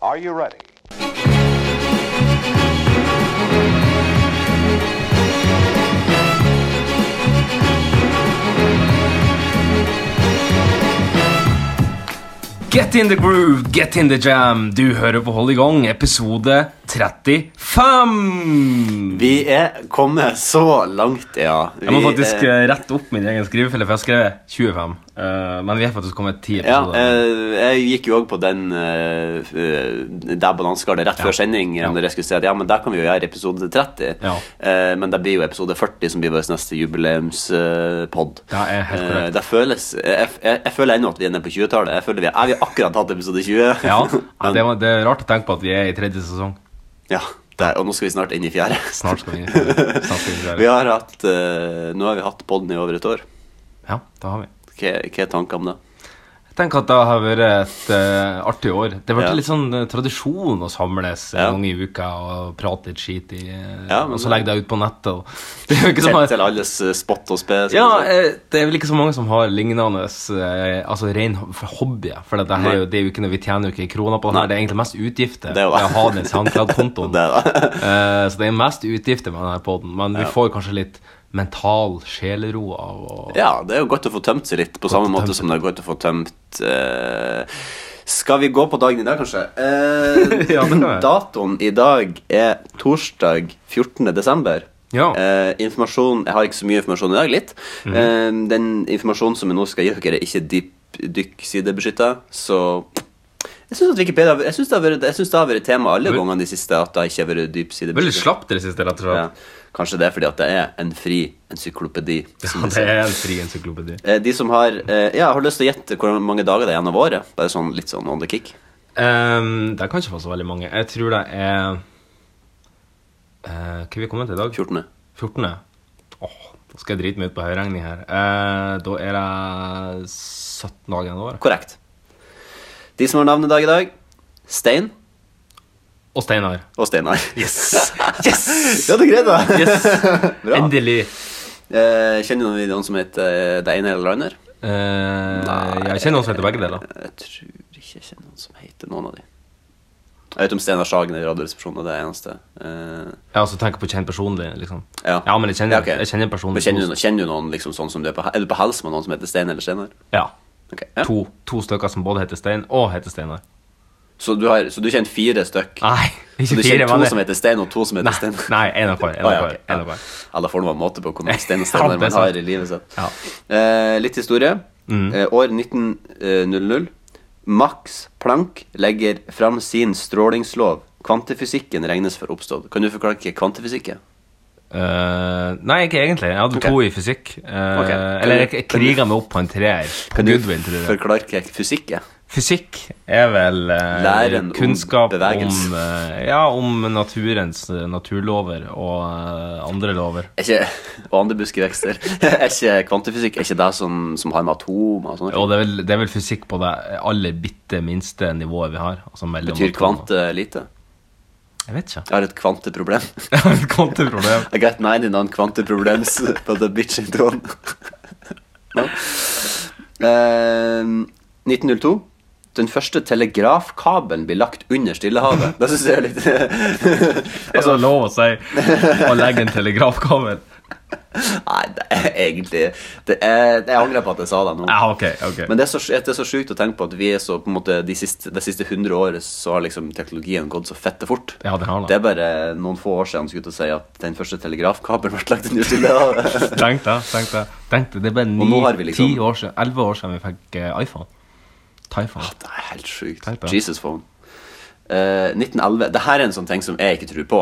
Are you ready? Get in the groove, get in the jam. Du hører på Hold i gang, episode 35. Vi er kommet så langt, ja. Vi, Jeg må faktisk eh, eh, rette opp min egen skrivefelle, for jeg skrev 25. eh, men vi er faktisk kommet 10 ja, episoder. eh, jeg gikk jo òg på den eh, f- eh, der balansegardet rett før sending. Ja. Når jeg skulle si at ja, men der kan vi jo gjøre episode 30. Ja. Eh, men det blir jo episode 40 som blir vår neste jubileumspod. Det er helt korrekt. det føles Jeg, jeg, jeg føler ennå at vi er nede på 20-tallet. Jeg føler vi, jeg, vi har akkurat hatt episode 20. Ja, ja, men, det, var- det er rart å tenke på at vi er i tredje sesong. ja der, Og nå skal vi snart inn i fjerde. Snart skal vi snart skal vi gjøre det. Vi har hatt, eh, nå har vi hatt podden i over et år. Ja, det har vi. Hva hva er tankene om det? Tenk at det har vært et eh, artig år. Det har vært Ja. litt sånn eh, tradisjon å samles en Ja. gang i uka og prate litt skit i eh, Ja, men Og så det- legge det ut på nettet. Og... Det er jo ikke sånn så Til, mange- til alles eh, spott og spe. som Ja, du sier. eh, det er vel ikke så mange som har lignende eh, Altså ren ho- for hobby. For det, her, Nei. er jo- det er jo ikke noe vi tjener jo ikke kroner på. Det, her. det er egentlig mest utgifter Det er jo- å ha den SoundCloud-kontoen. Det er det. Eh, så det er mest utgifter med denne poden, men vi Ja. får kanskje litt mental sjelero av å ja, det er jo godt å få tømt seg litt, på å samme tømt måte som det er godt å få tømt eh, Skal vi gå på dagen i dag, kanskje? Eh, Ja, det kan vi. datoen i dag er torsdag 14. desember. Ja. Mhm. Eh, informasjon Jeg har ikke så mye informasjon i dag, litt. Eh, den informasjonen som jeg nå skal gi dere, er ikke dypdykk-sidebeskytta, så jeg syns Wikipedia Jeg synes det har vært- jeg synes det har vært et tema alle Vel- gangene de siste at det ikke har vært Veldig dypsidebeskytta. slapp det siste, rett og slett. Ja. Kanskje det er fordi at det er en fri encyklopedi. som Ja, de det sier. er en fri encyklopedi. Eh, De som har eh, Ja, har lyst til å gjette hvor mange dager det er gjennom året? Bare sånn litt sånn on the kick. Ehm, det kan ikke være så veldig mange. Jeg tror det er eh, Hva vi kommet til i dag? 14. 14. Åh, da skal jeg drite meg ut på høyregning her. Eh, da er det 17 dager igjen av året. Korrekt. De som har navnedag i dag Stein Og Steinar. og Steinar. Yes! Yes! Ja, du greide det! yes. Bra. Endelig. Eh, kjenner du noen som heter eh, det ene eller det andre? Eh, Eh, jeg kjenner noen som heter begge deler. Jeg tror ikke jeg kjenner noen som heter noen av de. Jeg vet om Steinar Sagen er i Radioresepsjonen, og det er det eneste. Eh, Jeg også tenker på kjent personlig, liksom. Ja. men jeg kjenner, Ja, ok. jeg kjenner personlig. Men kjenner, du, kjenner du noen liksom sånn som du er på, eller på helse med noen som heter Stein eller Steinar? Ja. Ok, ja. To, to stykker som både heter Stein og heter Steinar. Så du har så du kjenner fire stykk? Nei, Så Ah, ikke du fire, kjenner to men som heter Stein, og to som heter Nei, Stein? nei, en av hver. en Å, av ja, hver, ok, en av hver. ja. Ja, da får det være en måte på hvor mange Stein og Ja, Steinar det er man sant. har i livet sitt. Ja. Mm. Eh, litt historie. Eh, år 1900. Max Planck legger fram sin strålingslov. Kvantefysikken regnes for oppstått. Kan du forklare hva kvantefysikk er? Eh, nei, ikke egentlig. Jeg hadde to Ok. i fysikk. Eh, Ok. Eller jeg, jeg kriga meg opp på en treer. På Kan du Goodwill, tror jeg. forklare hva fysikk er? Fysikk er vel eh, Læren om kunnskap om, bevegelse. eh, ja, om naturens eh, naturlover og eh, andre lover. Er ikke, og andre buskevekster. er ikke kvantefysikk er ikke det som, som har med atomer og sånn sånne ting? Og det er, vel, det er vel fysikk på det aller bitte minste nivået vi har. Altså mellom Betyr atomene. kvante lite? Jeg vet ikke. Jeg har et kvanteproblem. Jeg har et kvanteproblem. I got 99 kvanteproblems på the bitch in tone. no. Ehm, 1902. Den første telegrafkabelen blir lagt under Stillehavet. Det syns jeg er litt Altså, Det er lov å si å legge en telegrafkabel. Nei, det er egentlig det er, Jeg angrer på at jeg sa det nå. Ja, ok, ok. Men det er så, sj- det er så sjukt å tenke på at vi er så på en måte de siste, de siste 100 årene så har liksom teknologien gått så fette fort. Ja, det har den. Det er bare noen få år siden skulle jeg til å si at den første telegrafkabelen ble lagt under Stillehavet. Tenk det. tenk Det Tenk det, det er bare ni, nå har vi liksom- ti år siden, elleve år siden vi fikk eh, iPhone. Typhone. Det er helt sjukt. Teip, ja. Jesus phone. Eh, 1911. Dette er en sånn ting som jeg ikke tror på.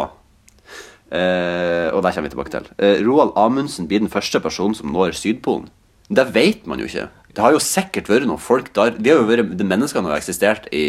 Eh, og det kommer vi tilbake til. Eh, Roald Amundsen blir den første personen som når Sydpolen. Det vet man jo ikke. Det har jo sikkert vært noen folk der De, har jo vært, de menneskene har jo eksistert i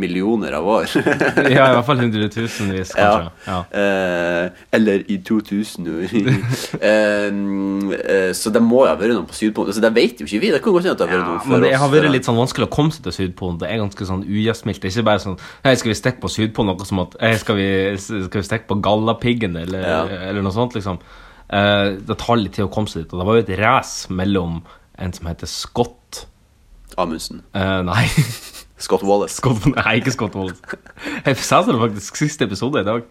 millioner av år. Ja, i hvert fall hundretusenvis, Ja. kanskje. Ja. Eh, eller i 2000 år. Eh, eh, så det må jo ha vært noen på Sydpolen. Altså, det vet jo ikke vi. Det kan godt hende at det har vært Ja, noen før men det oss, har før vært oss. litt sånn vanskelig å komme seg til Sydpolen. Det er ganske sånn ugjestmildt. Det er ikke bare sånn Hei, skal vi stikke på Sydpolen? Noe som at Hei, skal vi, skal vi stikke på Gallapiggen? Eller, Ja. eller noe sånt, liksom. Eh, det tar litt tid å komme seg dit. Og det var jo et race mellom en som heter Scott Amundsen. eh, Nei. Scott Wallace. Scott, nei, ikke Scott Wallace. Jeg sa det faktisk siste episode i dag.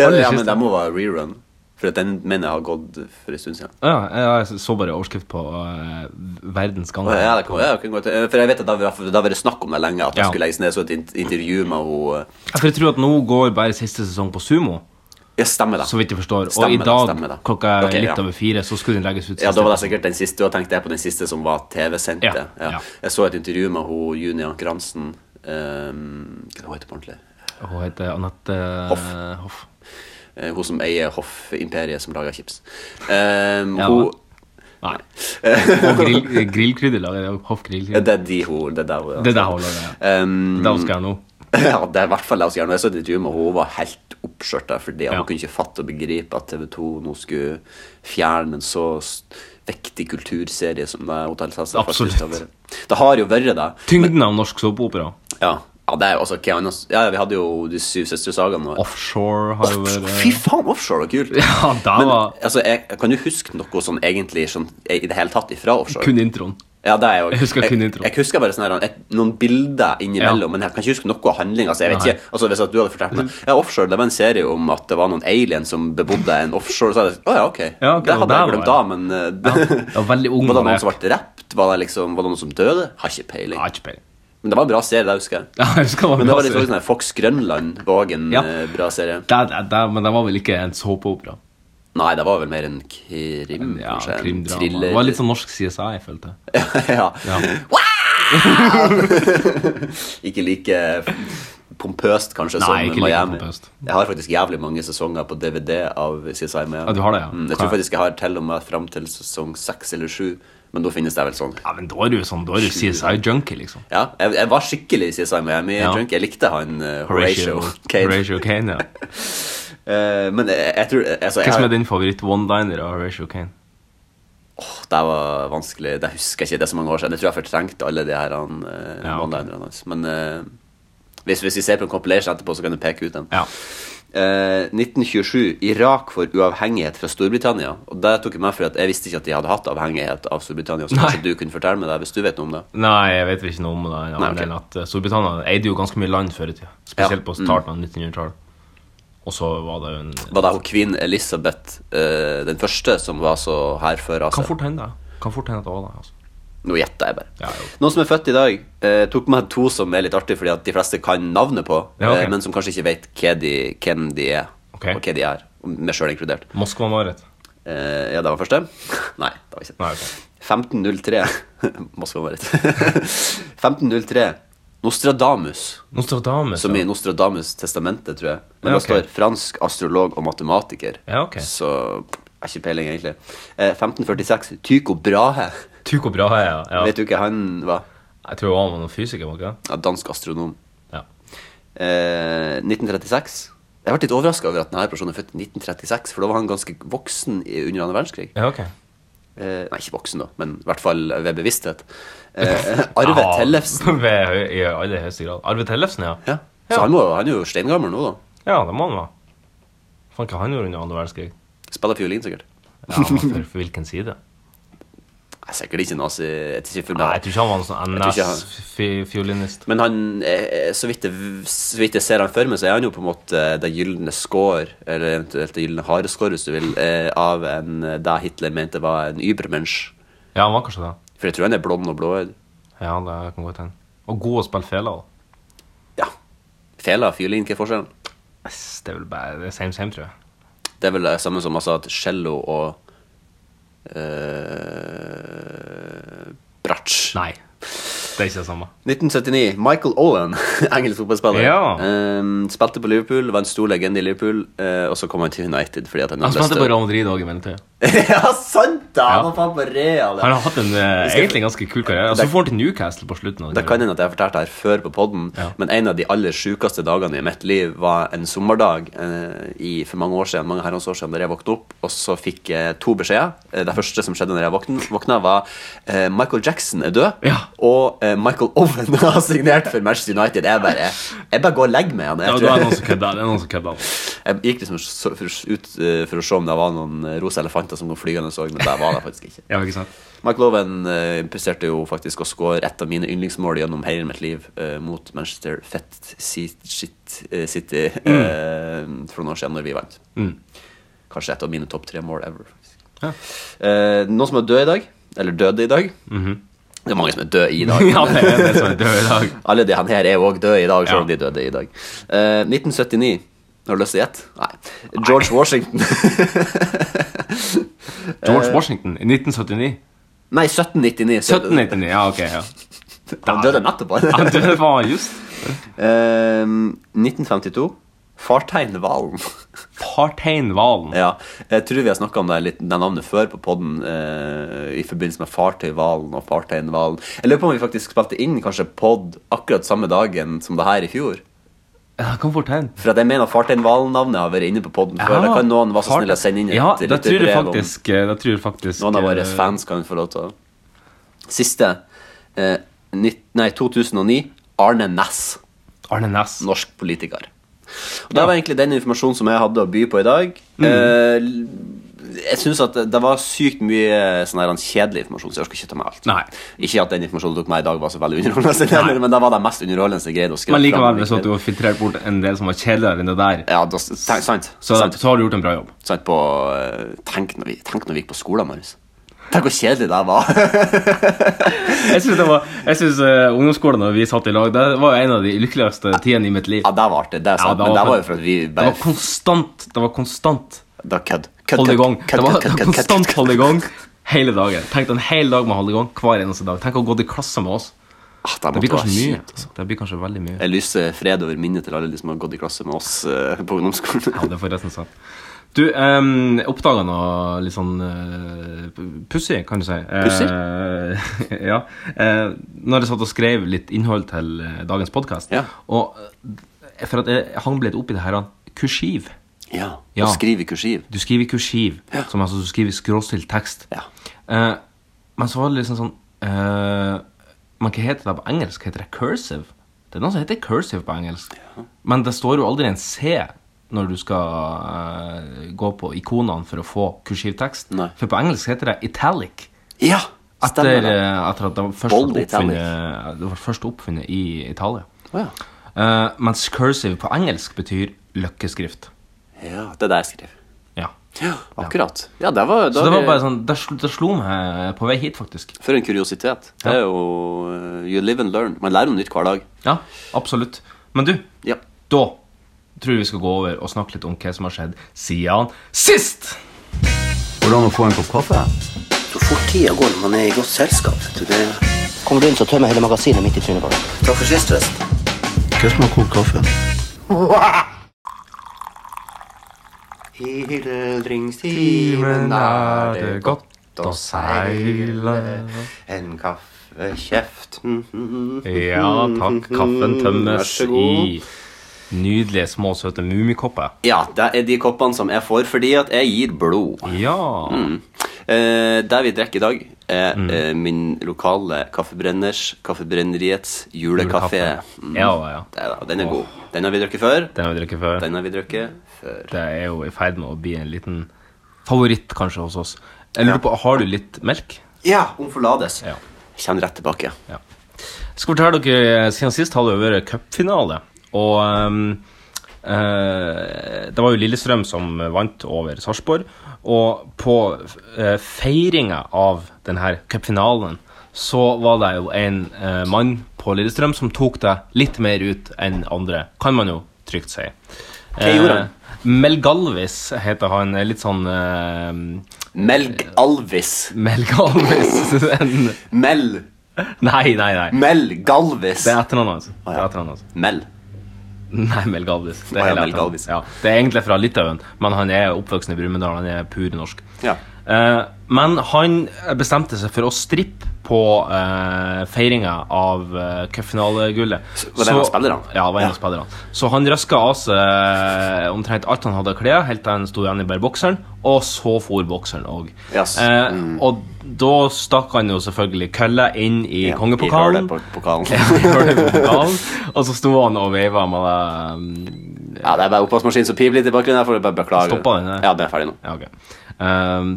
Ja, Aller ja, men siste. det må være rerun. For at den mener jeg har gått for en stund siden. Ja, jeg jeg så bare overskrift på eh, Verdens gang. Ja, det kan, ja, det kan gå til. For jeg vet at da var da var det snakk om det lenge, at det Ja. skulle legges ned. Så et int- intervju med hun Ja, For jeg tror at nå går bare siste sesong på Sumo, Ja, stemmer det. så vidt jeg forstår. Og Stemmer i det, dag stemmer det. klokka Ok, litt ja. over fire så skulle den legges ut. siste Ja, da var det episode. sikkert den siste. Da tenkte jeg på den siste som var TV-sendt. Ja, Ja, ja. Jeg så et intervju med hun Junia Gransen. Um, hva heter hun på ordentlig? Hun heter Anette Hoff. Hoff. Eh, hun som eier Hoff-imperiet, som lager chips. Um, Ja, hun, Nei. Og grill, eh, grillkrydder lager jeg. Hoff ja, grillkrydder. det er de hun Det er der hun Det er det hun lager. ja. Um, Det er Oscar nå. ja, det er i hvert fall det hun skal gjøre. nå. Jeg så et intervju med hun var helt oppskjørta fordi Ja. hun kunne ikke fatte og begripe at TV 2 nå skulle fjerne en så s- viktig kulturserie som det Hotell Cæsar faktisk Absolutt. har vært. Det har jo vært det. Tyngden av norsk såpeopera. Ja. ja, det er jo altså hva annet s- Ja, vi hadde jo De syv søstre sagaene nå. Offshore har jo vært eh, Fy faen, offshore var kult! Ja, da Men var altså, jeg, jeg kan du huske noe sånn egentlig sånn, i det hele tatt ifra offshore? kun introen. Ja, det er jo, Jeg husker kun jeg, introen. jeg husker bare sånne, her, et, noen bilder innimellom, Ja. men jeg kan ikke huske noe av handlinga. Altså, jeg vet Nei. Mhm. ikke, altså, hvis at du hadde fortalt meg Ja, offshore det var en serie om at det var noen aliens som bebodde en offshore, så hadde jeg Å ja, ok. Ja, ok, det og hadde jeg der glemt da, var men Ja, eh, det var veldig ung. Var det var jeg. noen som ble drept? Var det, liksom, var det noen som døde? Har ikke peiling. Ja, ikke peiling. Men det var en bra serie, det husker jeg. Ja, jeg husker hva Men det var litt sa. sånn her Fox Grønland var en Ja. eh, bra serie. Der, der, der, men det var vel ikke en såpeopera. Nei, det var vel mer en krim, Ja, kanskje. En krimdrama. thriller. Det var litt sånn norsk CSI, jeg følte jeg. ja. Ja. Ikke like pompøst, kanskje, Nei, som ikke like Miami. pompøst. jeg har faktisk jævlig mange sesonger på DVD av CSI Miami. Ja, du har det, ja. Mm, jeg Hva- tror faktisk jeg har til og med fram til sesong seks eller sju, men da finnes det vel sånn. Ja, men da er du jo sånn, da er du CSI-junkie, liksom. Ja, jeg, jeg var skikkelig CSI Miami-junk. Jeg likte han eh, Horatio Kane. Horatio Kane, ja. Eh, men jeg, jeg tror altså, jeg Hva som har- er din favoritt-one-liner av Horatio Kane? Åh, det var vanskelig. Det husker jeg ikke. Det er så mange år siden. Jeg tror jeg fortrengte alle de her han, eh, Ja, ok. one-linerne hans. Men eh, hvis, hvis vi ser på en compilation etterpå, så kan du peke ut den. Ja. Eh, 1927. Irak får uavhengighet fra Storbritannia. Og det tok jeg med for at jeg visste ikke at de hadde hatt avhengighet av Storbritannia. Så Nei. kanskje du kunne fortelle meg det, hvis du vet noe om det. Nei, jeg vet vel ikke noe om det. annet Nei, ok. enn at eh, Storbritannia eide jo ganske mye land før i tida. Spesielt Ja, på starten av 1900-tallet. Og så var det jo en Var det hun queen Elizabeth, eh, den første, som var så her før Kan seg? fort hende det. Kan fort hende at det var det. altså. Nå gjetter jeg bare. Ja, jo. Noen som er født i dag, eh, tok med to som er litt artig fordi at de fleste kan navnet på, Ja, ok. eh, men som kanskje ikke vet hva de, hvem de er, Ok. og hva de er, og meg sjøl inkludert. Moskva-Marit. Eh, ja, det var første? Nei, det var ikke Nei, ok. 1503 Moskva var rett. 1503. Nostradamus, Nostradamus. som i ja. Nostradamus-testamentet, tror jeg. Men Ja, det ok. står fransk astrolog og matematiker, Ja, ok. så jeg har ikke peiling, egentlig. Eh, 1546. Tycho Brahe. Tycho Brahe, ja. ja. Vet du hva han var? Jeg tror han var noen fysiker, var ikke det? Ja, dansk astronom. Ja. Eh, 1936. Jeg ble litt overraska over at denne personen er født i 1936, for da var han ganske voksen i- under annen verdenskrig. ja, ok. Eh, nei, ikke voksen, da, men i hvert fall ved bevissthet. Eh, Arve Ja, Tellefsen. ved høy- I aller høyeste grad. Arve Tellefsen, ja. Ja. Så han, må, han er jo steingammel nå, da. Ja, det må han være. Faen, hva han gjorde under andre verdenskrig? Spiller fiolin, sikkert. Ja, men for, for hvilken side? Nei, sikkert ikke nazi. Jeg tror ikke for Nei, jeg tror ikke han var en sånn Jeg tror ikke han- NS-fiolinist. Men han, eh, så, vidt jeg, så vidt jeg ser han for meg, så er han jo på en måte det gylne skår, eller eventuelt det gylne hareskår, hvis du vil, eh, av en, det Hitler mente var en übermensch. Ja, han var kanskje det. For jeg tror han er blond og blåøyd. Ja, det kan godt hende. Og god å spille fela. da. Ja. Fela og fiolin, hva er forskjellen? Yes, Det er vel bare det er same same, tror jeg. Det er vel det samme som altså at cello og eh, bratsj. Nei. Det er ikke det samme. 1979. Michael Owen, engelsk fotballspiller. Ja. Eh, spilte på Liverpool, var en stor legende i Liverpool, eh, og så kom han til United fordi at han, Han hadde lyst spilte til- på Real Madrid òg i mellomtida. ja, sant da! Ja. Han var faen på Real. Han ja. har hatt en eh, skal- egentlig ganske kul karriere. Og så får han til Newcastle på slutten. av Det kan hende at jeg har fortalt det her før på podden, Ja. men en av de aller sjukeste dagene i mitt liv var en sommerdag eh, i, for mange år siden, mange herrens år siden, der jeg våkna opp, og så fikk jeg to beskjeder. Eh, Det første som skjedde når jeg våkna, våkna var eh, Michael Jackson er død, Ja. og eh, Michael Owen har signert for Manchester United. Jeg bare, jeg bare går og legger meg. han. Ja, det Jeg tror- er noen som kødder. Det er noen som kødder. Jeg gikk liksom så, for, ut eh, for å se om det var noen eh, rosa elefanter som kom flygende, og så, men det var det faktisk ikke. Ja, ikke sant? McLoven eh, presterte jo faktisk å score et av mine yndlingsmål gjennom hele mitt liv eh, mot Manchester Fett Si- Shit, eh, City eh, for noen år siden, når vi vant. Mm. Kanskje et av mine topp tre mål ever. faktisk. Ja. Eh, noen som er død i dag, eller døde i dag Det er mange som er døde i dag. Mm-hmm. ja, det er det som er død i dag. Alle de han her er jo òg døde i dag, selv om Ja. de døde i dag. Eh, 1979. Har du lyst til å gjette? Nei. George Washington. Eh. George Washington i 1979. Nei, 1799. 1799, ja, ok. ja. Han døde nettopp. han. Han døde var just Eh, 1952. Farteinhvalen. Parteinhvalen. ja, jeg tror vi har snakka om det, litt, det navnet før på poden i forbindelse med Fartøyhvalen og Farteinhvalen. Jeg lurer på om vi faktisk spilte inn kanskje pod akkurat samme dagen som det her i fjor. Ja, kan fort hende. For at jeg mener Farteinhvalen-navnet har vært inne på poden før. Da kan noen være så snill å sende inn et ja, da lite tror jeg brev om- faktisk, eh, da tror jeg faktisk Noen av våre eh, fans kan få lov til å Siste. Eh, nitt- nei, 2009. Arne Næss. Arne Næss. norsk politiker. Og Det var egentlig den informasjonen som jeg hadde å by på i dag. Mm. Eh, jeg synes at det- det var sykt mye sånn her kjedelig informasjon, så jeg orker ikke ta med alt. Nei. Ikke at den informasjonen du tok med i dag var så veldig underholdende, heller, men det var det mest underholdende jeg greide å skrive Men likevel, fram. hvis at du har filtrert bort en del som var kjedeligere enn det der, Ja, da, tenk, sant. så, sant, så har du gjort en bra jobb. sant på, eh, tenk, når vi, tenk når vi gikk på skolen, Marius. Tenk hvor kjedelig det var. Jeg syns, det var, jeg synes eh, ungdomsskolen når vi satt i lag, det var jo en av de lykkeligste tidene i mitt liv. Ja, det var artig, det er sant, det men var det var jo fett. for at vi Det bare var konstant. Det var konstant Da kødd. Kødd, holde i kødd, gang. kødd, Det var, det kødd, kødd, var kødd, kødd, konstant kødd. holde i gang hele dagen. Tenk deg en hel dag med holde i gang hver eneste dag. Tenk å gå til klasse med oss. Det Ah, det måtte blir være kanskje kjipt. mye. Det blir kanskje veldig mye. Jeg lyser fred over minnet til alle de som har gått i klasse med oss eh, Ja, på ungdomsskolen. det er forresten sant. Du, um, oppdaga noe litt sånn uh, pussig, kan du si. Eh, ja. Eh, når jeg satt og skrev litt innhold til eh, dagens podkast, Ja. og eh, for at jeg hang litt opp i det her han, kursiv. Ja, Ja. Og skriv i kursiv. Du skriver kursiv, som altså du skriver skråstilt tekst. Ja. Eh, men så var det liksom sånn eh, Men hva heter det på engelsk? Heter det cursive? Det er noe som heter cursive på engelsk. Men det står jo aldri en C når du skal eh, gå på ikonene for å få kursivtekst. Nei. For på engelsk heter det italic. Ja, Etter, stemmer det. eh, etter at det var først, Bold ble italic. oppfunnet, det var først oppfunnet i Italia. Å ja. Eh, mens cursive på engelsk betyr løkkeskrift. ja, det er det jeg skriver. Ja. Ja, akkurat. Ja, det var, Så da det vi- var bare sånn, det slo, det slo meg eh, på vei hit, faktisk. For en kuriositet. Det er jo eh, You live and learn. Man lærer noe nytt hver dag. Ja, absolutt. Men du, Ja. Da tror jeg vi skal gå over og snakke litt om hva som har skjedd siden sist. Hvordan å få en kopp kaffe? Så fort tida går når man er i godt selskap. vet du, Det Kommer du inn, så tømmer jeg hele magasinet mitt i trynet på deg. Takk for sist, forresten. Hva som har kokt kaffe? I hildringstimen er det godt å seile en kaffekjeft. Mm. Ja takk. Kaffen Vær tømmes så god. i nydelige, små, søte mummikopper. ja, det er de koppene som jeg får fordi at jeg gir blod. Mm. Ja. Mm. Eh, det vi drikker i dag, er Mm. eh, min lokale kaffebrenners, Kaffebrenneriets julekaffe. Mm. Ja, ja. Det er det, og den er god. Den har vi drukket før. Den har vi drukket før. Den har vi drukket før. Det er jo i ferd med å bli en liten favoritt kanskje hos oss. Jeg lurer på, Har du litt melk? Ja, omforlades. Ja. Kjenn rett tilbake. Ja. Jeg skal fortelle dere, eh, siden sist har det jo vært cupfinale, og ehm, eh, det var jo Lillestrøm som vant over Sarpsborg, og på uh, feiringa av denne cupfinalen så var det jo en eh, mann på Lillestrøm som tok det litt mer ut enn andre, kan man jo trygt si. Hva gjorde han? Melgalvis heter han. Litt sånn uh, Melg Alvis. Melgalvis. en, Mel. nei, nei, nei. Mel Galvis. Det er etternavnet hans. Det er ja. etternavnet hans. Mel. Nei, Mel Galvis. Det Å er, ja, hele Mel etternavnet. Galvis. Ja, det er egentlig fra Litauen, men han er oppvokst i Brumunddal. Han er pur norsk. Ja. Eh, men han bestemte seg for å strippe på eh, feiringa av eh, cupfinalegullet. var det en av spillerne? Ja, var en av Ja. spillerne. Så han røska av seg eh, omtrent alt han hadde av klær, helt til han sto igjen i bare bokseren, og så for bokseren òg. Yes. Mm. Eh, og da stakk han jo selvfølgelig kølla inn i Ja, kongepokalen. I hølet på pokalen. Ja, vi hørte på pokalen, og så sto han og veiva med det um, Ja, det er bare oppvaskmaskinen som piper litt i bakgrunnen. her, får Jeg bare beklage. Stoppa den der? Ja, den er ferdig nå. Ja, ok. Ehm,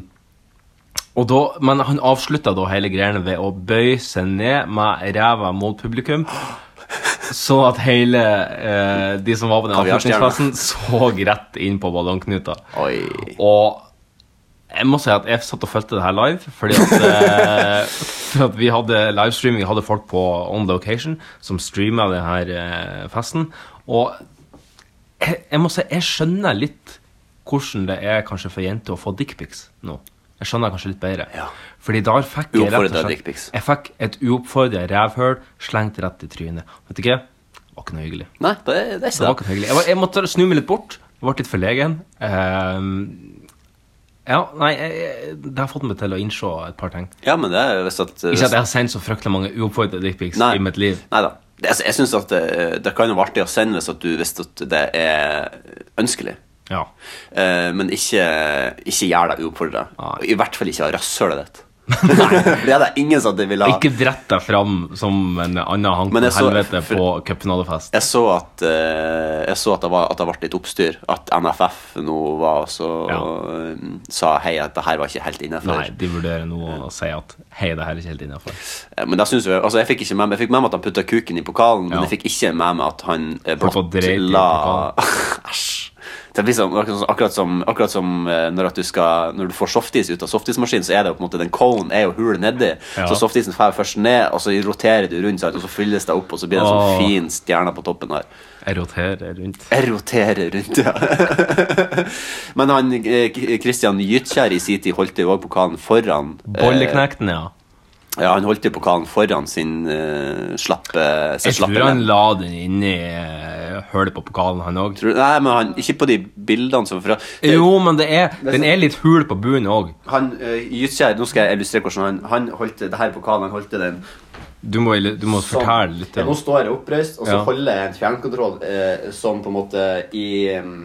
og da, men han avslutta da hele greiene ved å bøye seg ned med ræva mot publikum. Så at hele eh, de som var på den Kaviarstjerna. avslutningsfesten, så rett inn på ballongknuta. Oi. Og jeg må si at jeg satt og fulgte det her live, fordi at, eh, for at vi hadde livestreaming, vi hadde folk på On Location som streama den her eh, festen. Og jeg, jeg må si, jeg skjønner litt hvordan det er kanskje for jenter å få dickpics nå. Jeg skjønner kanskje litt bedre. Ja. Fordi da fikk jeg rett og Uoppfordret slett dickpics. Jeg fikk et uoppfordra rævhøl slengt rett i trynet. Vet du hva? Det var ikke noe hyggelig. Nei, det, er- det Det er var ikke det. ikke hyggelig. Jeg, var, jeg måtte snu meg litt bort. Jeg ble litt forlegen. Ehm, ja, nei, jeg, jeg- det har fått meg til å innse et par ting. Ja, men det er visst at Ikke at jeg har sendt så fryktelig mange uoppfordrede dickpics i mitt liv. Neida. Det, jeg jeg syns at det, det kan jo være artig å sende hvis, at du, hvis at det er ønskelig. Ja. Eh, men ikke, ikke gjør deg uoppfordra. Nei. I hvert fall ikke av rasshølet ditt. det er det ingen som vil ha. Ikke brett deg fram som en annen hank Men til jeg så- helvete for- på cupfinalefest. Jeg så at, eh, jeg så at, det var, at det ble litt oppstyr. At NFF nå var så Ja. eh, sa hei, at det her var ikke helt Nei, innafor. de vurderer nå å si at hei, det her er ikke helt innafor. Men da synes jeg, altså jeg fikk ikke med meg Jeg fikk med meg at han putta kuken i pokalen, Ja. men jeg fikk ikke med meg at han eh, Folk var dreit i blottla Æsj. Det blir sånn, akkurat, som- akkurat som, akkurat som eh, når, at du skal, når du får softis ut av softismaskinen, så er det jo på en måte den cone er jo hul nedi. Ja. Så softisen faller først ned, og så roterer du rundt, sant, og så fylles det opp, og så blir det en Åh. sånn fin stjerne på toppen her. Jeg roterer rundt. Jeg roterer rundt, ja. Men han eh, K- Christian Gytkjær i sin tid holdt jo òg pokalen foran eh, Bolleknekten, ja. ja, han holdt jo pokalen foran sin eh, slappe sin Jeg tror slappe han lem. la den inni eh, hølet på pokalen, han òg. Tror- Nei, men han, ikke på de bildene som fra det- Jo, men det er, den er litt hul på bunnen òg. Han, eh, Gytkjær, nå skal jeg illustrere hvordan han Han holdt det her pokalen, han holdt den Du må, du må sånn. fortelle litt. Ja, Nå står jeg oppreist, og så Ja. holder jeg en fjernkontroll eh, som på en måte i mm,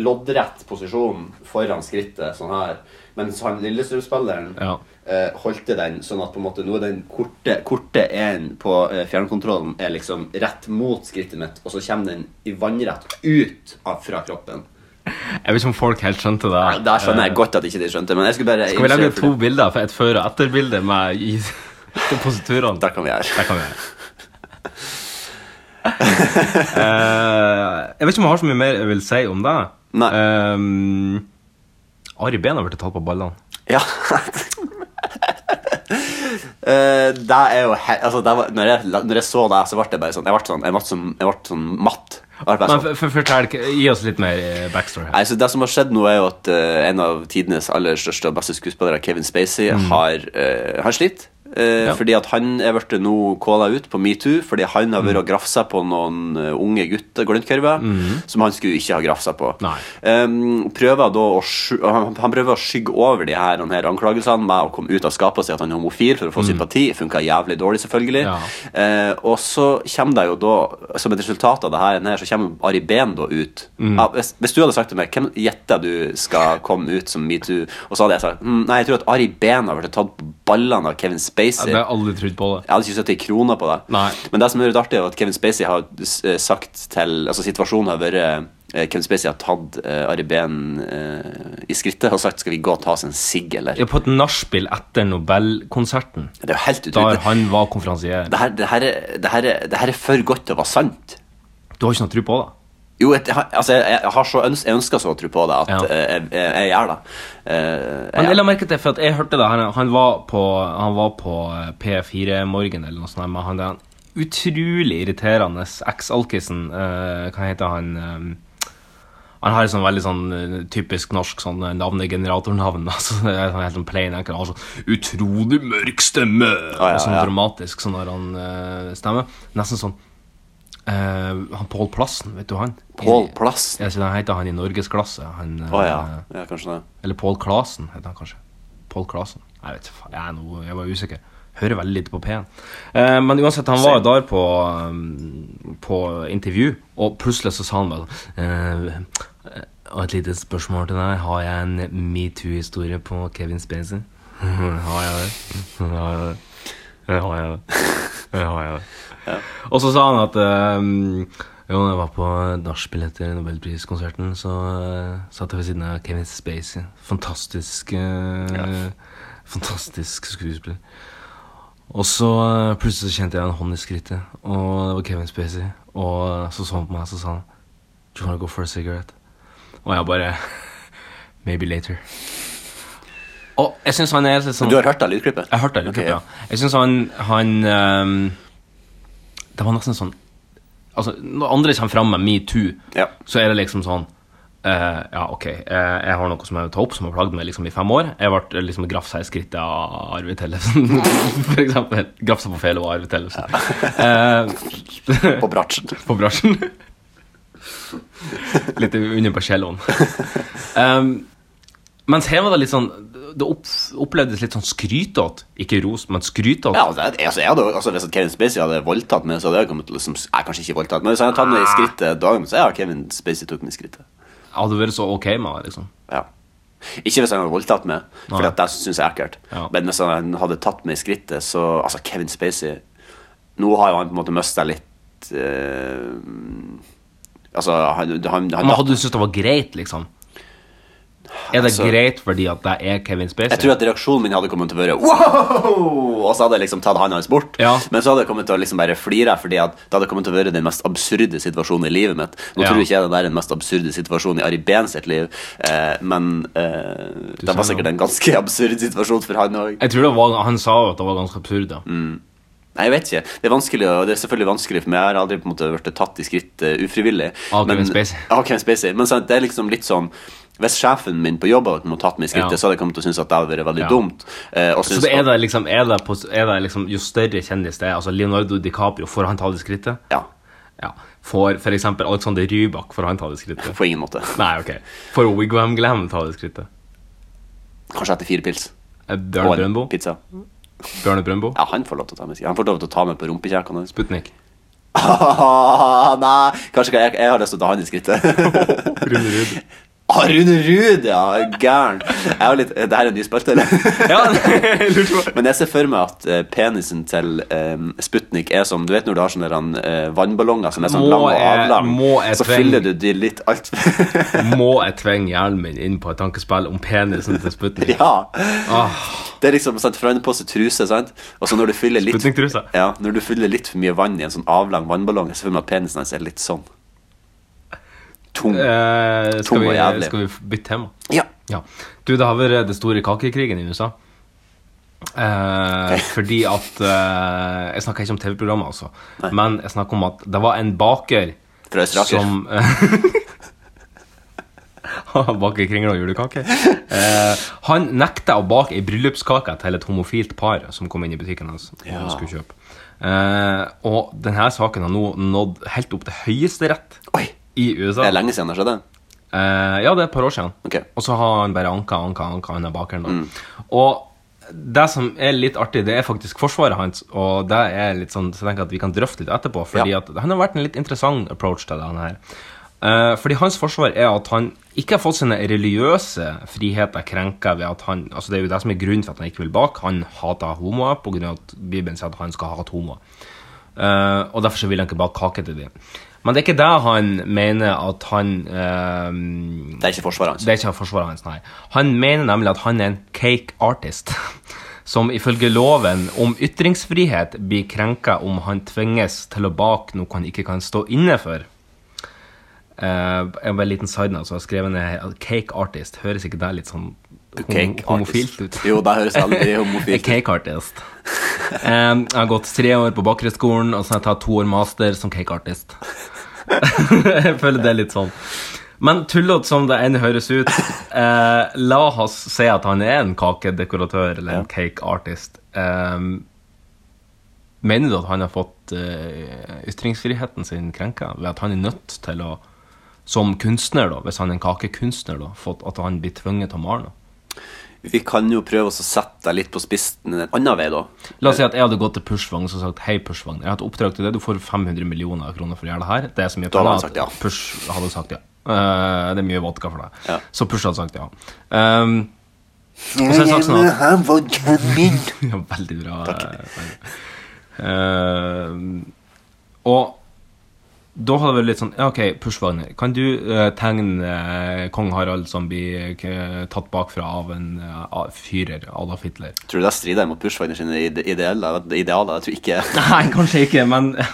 loddrett posisjon foran skrittet, sånn her. Mens han Lillestrøm-spilleren Ja. eh, holdt i den, sånn at på en måte nå er den korte, korte en på eh, fjernkontrollen er liksom rett mot skrittet mitt, og så kommer den i vannrett ut av, fra kroppen. Jeg vet ikke om folk helt skjønte det. Ja, Der skjønner jeg godt at ikke de skjønte, men jeg skulle bare Eh. Skal vi lage illustrere for to det. bilder? For et før- og etterbilde med i positurene? Der kan vi gjøre. Det kan vi gjøre. Eh, jeg vet ikke om jeg har så mye mer jeg vil si om det. Nei. Ehm, Ari Behn har blitt tatt på ballene. Ja. Eh, det er jo he altså, det var, når, jeg, når jeg så deg, så ble jeg bare sånn Jeg ble sånn, jeg ble sånn, jeg ble sånn matt. Jeg ble bare Men sånn. for, for, fortell, Gi oss litt mer eh, backstory. her Nei, så Det som har skjedd nå, er jo at eh, en av tidenes aller største og beste skuespillere, Kevin Spacey, har, eh, har slitt. Eh, Mm. Ja. Fordi at han er blitt nå calla ut på metoo fordi han har Mm. vært og grafsa på noen eh, unge gutter rundt kurva som han skulle ikke ha grafsa på. Mm. Nei. Em, prøver da å sky han, han prøver å skygge over de her, de her anklagelsene med å komme ut av skapet og si at han er homofil for å få sympati. Funka jævlig dårlig, selvfølgelig. Mm. Ja. Eh, og så kommer det jo da, som et resultat av det her, her så kommer Ari Behn da ut. Mm. Ja, hvis, hvis du hadde sagt til meg hvem gjetter du skal komme ut som metoo, og så hadde jeg sagt hm, nei, jeg tror at Ari Behn har blitt tatt på ballene av Kevin Ja, det Spacey. har jeg aldri trodd på. det Jeg hadde ikke satt ei krone på det. Nei. Men det som er litt artig, er at Kevin Spacey har eh, sagt til Altså, situasjonen har vært eh, Kevin Spacey har tatt eh, Ari Behn eh, i skrittet og sagt 'skal vi gå og ta oss en sigg', eller Ja, På et nachspiel etter Nobelkonserten, Det er jo helt der utrolig. han var konferansier. Det her, det, her er, det, her er, det her er for godt til å være sant. Du har ikke noe tro på det? Jo, jeg, jeg har- altså, jeg, jeg, har så øns, jeg ønsker så å tro på det at Ja. eh, jeg, jeg, jeg gjør det. Eh, Men jeg jeg, la merke til, for at jeg hørte det, han, han, var på, han var på P4-morgen eller noe sånt, der, men han den utrolig irriterende eks-alkisen, eh, hva heter han eh, Han har et sånn veldig sånn eh, typisk norsk sånn eh, navnegeneratornavn, altså, det er sånn helt sånn plain enkel, han har sånn utrolig mørk stemme, Ah, ja, og sånn ja. dramatisk sånn når han eh, stemmer, nesten sånn eh, han Pål Plassen, vet du han? Pål Plass? Å Jeg synes han heter han i Norgesklasse. Han, eh, ja. ja, kanskje det. eller Paul Klasen heter han kanskje. Paul Klasen. Jeg vet faen, jeg, er noe, jeg var usikker. Hører veldig lite på P1. Eh, men uansett, han var jo der på, um, på intervju, og plutselig så sa han bare sånn eh, Og et lite spørsmål til deg. Har jeg en metoo-historie på Kevin Spacey? har jeg det? Har jeg det? Har jeg det? Har jeg det? Og så sa han at eh, Jo, når jeg var på nachspiel etter nobelpriskonserten, så eh, satt jeg ved siden av Kevin Spacey. Fantastisk eh, Fantastisk skuespiller. Og så eh, plutselig så kjente jeg en hånd i skrittet, og det var Kevin Spacey. Og eh, så så han på meg, så sa han Do you wanna go for a cigarette? Og jeg bare Maybe later. Og jeg synes han er litt sånn Du har hørt det lydklippet? jeg har hørt det. Ok, Okay, ja. Jeg syns han, han ehm, Det var nesten sånn Altså, når andre kommer fram med metoo, Ja. så er det liksom sånn eh, ja, ok, eh, jeg har noe som jeg vil ta opp, som har plagd meg liksom i fem år. Jeg ble liksom grafsa i skrittet av Arvid Tellefsen, for eksempel. Grafsa på fele av Arvid Tellefsen. Eh, På bratsjen. på bransjen. litt under på celloen. Um, mens her var det litt sånn Det opp, opplevdes litt sånn skrytete. Ikke ros, men skrytete. Ja, altså, jeg, altså, jeg hadde, altså, hvis at Kevin Spacey hadde voldtatt meg, så hadde jeg kommet til å liksom, jeg, Kanskje ikke voldtatt, men hvis han hadde tatt meg i skrittet dagen, så ja, Kevin Spacey tok meg i skrittet. Jeg hadde vært så ok med det, liksom. Ja. Ikke hvis han hadde voldtatt meg, for Nei. det syns jeg er ekkelt. Ja. Men hvis han hadde tatt meg i skrittet, så Altså, Kevin Spacey Nå har jo han på en måte mista litt eh, Altså, han, han, han Men hadde du syntes det var greit, liksom? Er det Altså- greit fordi at det er Kevin Spacey? Jeg tror at reaksjonen min hadde kommet til å være wow! Og så hadde jeg liksom tatt hånda hans bort. Ja. Men så hadde jeg kommet til å liksom bare flire, fordi at det hadde kommet til å være den mest absurde situasjonen i livet mitt. Nå Ja. tror ikke jeg det er den mest absurde situasjonen i Ari Behn sitt liv, eh, men eh, det sa var sikkert noe. en ganske absurd situasjon for han òg. Jeg tror det var, Han sa jo at det var ganske absurd, da. Mm. Nei, jeg vet ikke. Det er vanskelig, å- det er selvfølgelig vanskelig for meg. Jeg har aldri på en måte vært tatt i skritt eh, ufrivillig. Av Kevin Men- Spacey. Av Kevin Spacey. Men sant, det er liksom litt sånn Hvis sjefen min på jobb hadde på en måte tatt meg i skrittet, Ja. så hadde jeg kommet til å synes at det hadde vært veldig Ja. dumt. eh, og Så synes det er at- det liksom, er det, på, er det liksom Jo større kjendis det er, altså Leonardo DiCaprio, får han ta det skrittet? Ja, Ja. Får for eksempel Alexander Rybak, får han ta det skrittet? på ingen måte. Nei, ok. For Wigwam Glam tar det skrittet. Kanskje etter fire pils. Eh, Og Bjørn en Brøndbo. pizza. Bjørne Brøndbo. Ja, han får lov til å ta med seg. Han får lov til å ta med på rumpekjekene hans. Sputnik. Nei, kanskje ikke jeg, jeg har lyst til å ta han i skrittet. Rune Ruud. ah, Rune Ruud, ja! Gæren. Jeg har litt, det her er en ny spalte, eller? Ja, jeg lurte på Men jeg ser for meg at eh, penisen til eh, Sputnik er som Du vet når du har sånne der, eh, vannballonger som er sånn Må lang og jeg- avlang, må jeg så tvinge- fyller du de litt alt Må jeg tvinge hjernen min inn på et tankespill om penisen til Sputnik? Ja. Ah, Det er liksom sant, fra en pose truse, sant? Og så når du fyller litt Sputnik-trusa. Ja, når du fyller litt for mye vann i en sånn avlang vannballong, så føler man at penisen hans er litt sånn tung. eh, Tom skal, og vi, jævlig. skal vi bytte tema? Ja. Ja. Du, det har vært det store kakekrigen i USA. Eh, fordi at eh, Jeg snakker ikke om TV-programmet, altså. Men jeg snakker om at det var en baker Fra Østeraker. som eh, Han baker kringler og julekaker. Eh, han nekta å bake ei bryllupskake til et homofilt par som kom inn i butikken hans. og Ja. skulle kjøpe. Eh, og denne saken har nå nådd helt opp til høyesterett Oi! i Det USA. er lenge siden det skjedde. Eh, ja, det er et par år siden. Ok. Og så har han bare anka, anka, anka under bakeren. da. Og det som er litt artig, det er faktisk forsvaret hans, og det er litt sånn, så jeg tenker at vi kan drøfte litt etterpå, fordi Ja. at han har vært en litt interessant approach til det han her. Eh, fordi hans forsvar er at han ikke har fått sine religiøse friheter krenka ved at han altså Det er jo det som er grunnen for at han ikke vil bak. Han hater homoer på grunn av at Bibelen sier at han skal hate homoer. Eh, og derfor så vil han ikke bake kake til dem. Men det er ikke det han mener at han eh, Det er ikke forsvaret hans. det er ikke forsvaret hans, nei. Han mener nemlig at han er en cake artist, som ifølge loven om ytringsfrihet blir krenka om han tvinges til å bake noe han ikke kan stå inne for. Eh, jeg bare en liten side note, så har jeg skrevet ned her, cake artist. Høres ikke det litt sånn hom Cake artist. homofilt ut? Jo, det høres veldig homofilt A ut. cake artist. Em, jeg har gått tre år på bakkerskolen, og så har jeg tatt to år master som cake artist. jeg føler det er litt sånn. Men tullete som det enn høres ut, eh, la oss si at han er en kakedekoratør eller en cake artist. Em, mener du at han har fått eh, ytringsfriheten sin krenka ved at han er nødt til å som kunstner, da, hvis han er en kakekunstner, da, fått at han blir tvunget til å male noe? Vi kan jo prøve oss å sette deg litt på spissen en annen vei, da. La oss si at jeg hadde gått til Pushvagn og sagt Hei, Pushvagn, jeg har et oppdrag til deg. Du får 500 millioner kroner for å gjøre det her. Det er så mye Da hadde penger han at sagt ja. Push hadde sagt ja. Eh, det er mye vodka for deg. Ja. Så Push hadde sagt ja. Um, og så har jeg sagt sånn at Han var gammel. ja, Veldig bra. eh, poeng. Eh, og da hadde det vært litt sånn Ja, OK, Pushwagner, kan du eh, tegne eh, kong Harald som blir eh, tatt bakfra av en eh, av- fyrer, Adolf Hitler? Tror du det strider mot Bushwagner sine ide- idealer? idealer? Jeg tror ikke Nei, kanskje ikke, men Ja,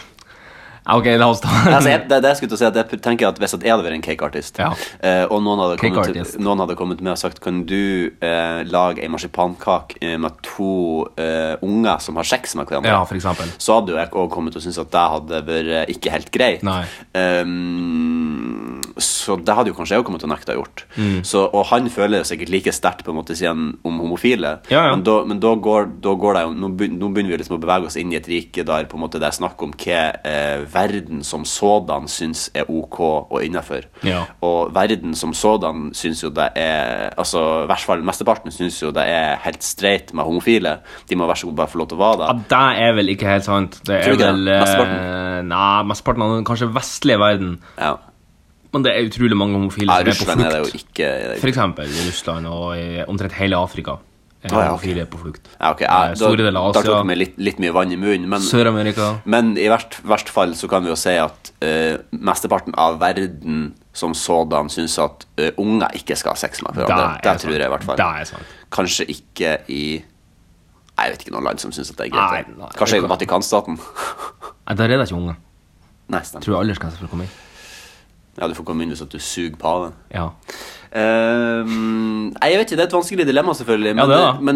OK, la oss ta altså, jeg, det, det jeg skulle til å si at jeg tenker at Hvis at jeg hadde vært en cakeartist, Ja. eh, og noen hadde, Cake kommet, artist. til- noen hadde kommet med og sagt Kan du eh, lage ei marsipankake eh, med to eh, unger som har sex med hverandre, Ja, for eksempel. så hadde jo jeg òg kommet til å synes at det hadde vært eh, ikke helt greit. Nei. Ehm, så det hadde jo kanskje jeg òg kommet til å nekte å ha gjort. Mm. Så, og han føler jo sikkert like sterkt på en måte siden om homofile, Ja, ja. men, da, men da, går, da går det jo nå, begyn- nå begynner vi liksom å bevege oss inn i et rike der på en måte det er snakk om hva eh, verden som sådan syns er ok og innafor. Ja. Og verden som sådan syns jo det er Altså, i hvert fall mesteparten syns jo det er helt streit med homofile. De må være så god bare få lov til å være Ja, det. det er vel ikke helt sant. Det Tror er du ikke vel det? eh, Mesteparten? Nei, mesteparten av den kanskje vestlige verden. Ja. Men det er utrolig mange homofile ja, som er på Russland er det flukt. jo ikke det er jo- For eksempel i Russland og i omtrent hele Afrika. Er Å, ja, homofile på flukt. ja, ok, Eh, ja, da, Store deler av Da tok Asia, vi litt, litt mye vann i munnen, men Sør-Amerika. Men i verst, verst fall så kan vi jo si at eh, mesteparten av verden som sådan syns at eh, unger ikke skal ha sex med hverandre. er Det tror jeg i hvert fall. Det er sant. Kanskje ikke i Nei, Jeg vet ikke noen land som syns at det er Nei, greit. nei, det Kanskje i kan- Vatikanstaten. Nei, Der er det ikke unge. Nei, stemmer. Tror jeg aldersgrense for å komme inn. Ja, du får komme inn hvis at du suger på av det. Ja. Ehm, nei, jeg vet ikke, Det er et vanskelig dilemma, selvfølgelig. Ja, Men, det er det.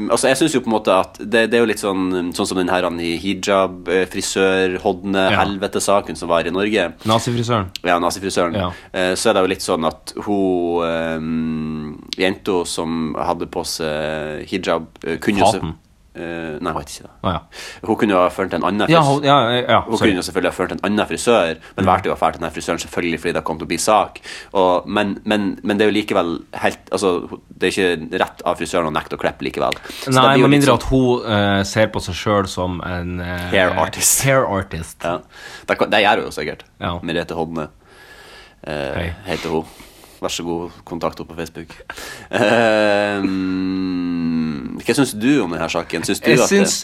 men eh, altså, jeg syns jo på en måte at det, det er jo litt sånn Sånn som den her han i hijab, eh, frisør, hodne, Ja. helvete-saken som var i Norge. Nazifrisøren. Ja, nazifrisøren. Ja. Eh, så er det jo litt sånn at hun eh, jenta som hadde på seg hijab eh, kunne jo se- Faten. Eh, nei, jeg vet ikke det. Å ja. Hun kunne jo ha ført en annen Ja, fris- hold- ja, ja, ja. hun kunne Sorry. Mm. jo selvfølgelig ha ført en annen frisør, men valgte jo å ha ført denne frisøren selvfølgelig fordi det kom til å bli sak. Og, men, men, men det er jo likevel helt Altså, det er ikke rett av frisøren å nekte å klippe likevel. Så det Nei, blir jo med litt mindre sånn- at hun eh, ser på seg sjøl som en eh, Hair artist. Hair artist. ja. det, kan- det gjør hun jo sikkert. Ja. Merete Hodne eh, Hei. heter hun. Vær så god, kontakt henne på Facebook. Eh, mm, hva syns du om denne saken? Syns du Jeg at syns,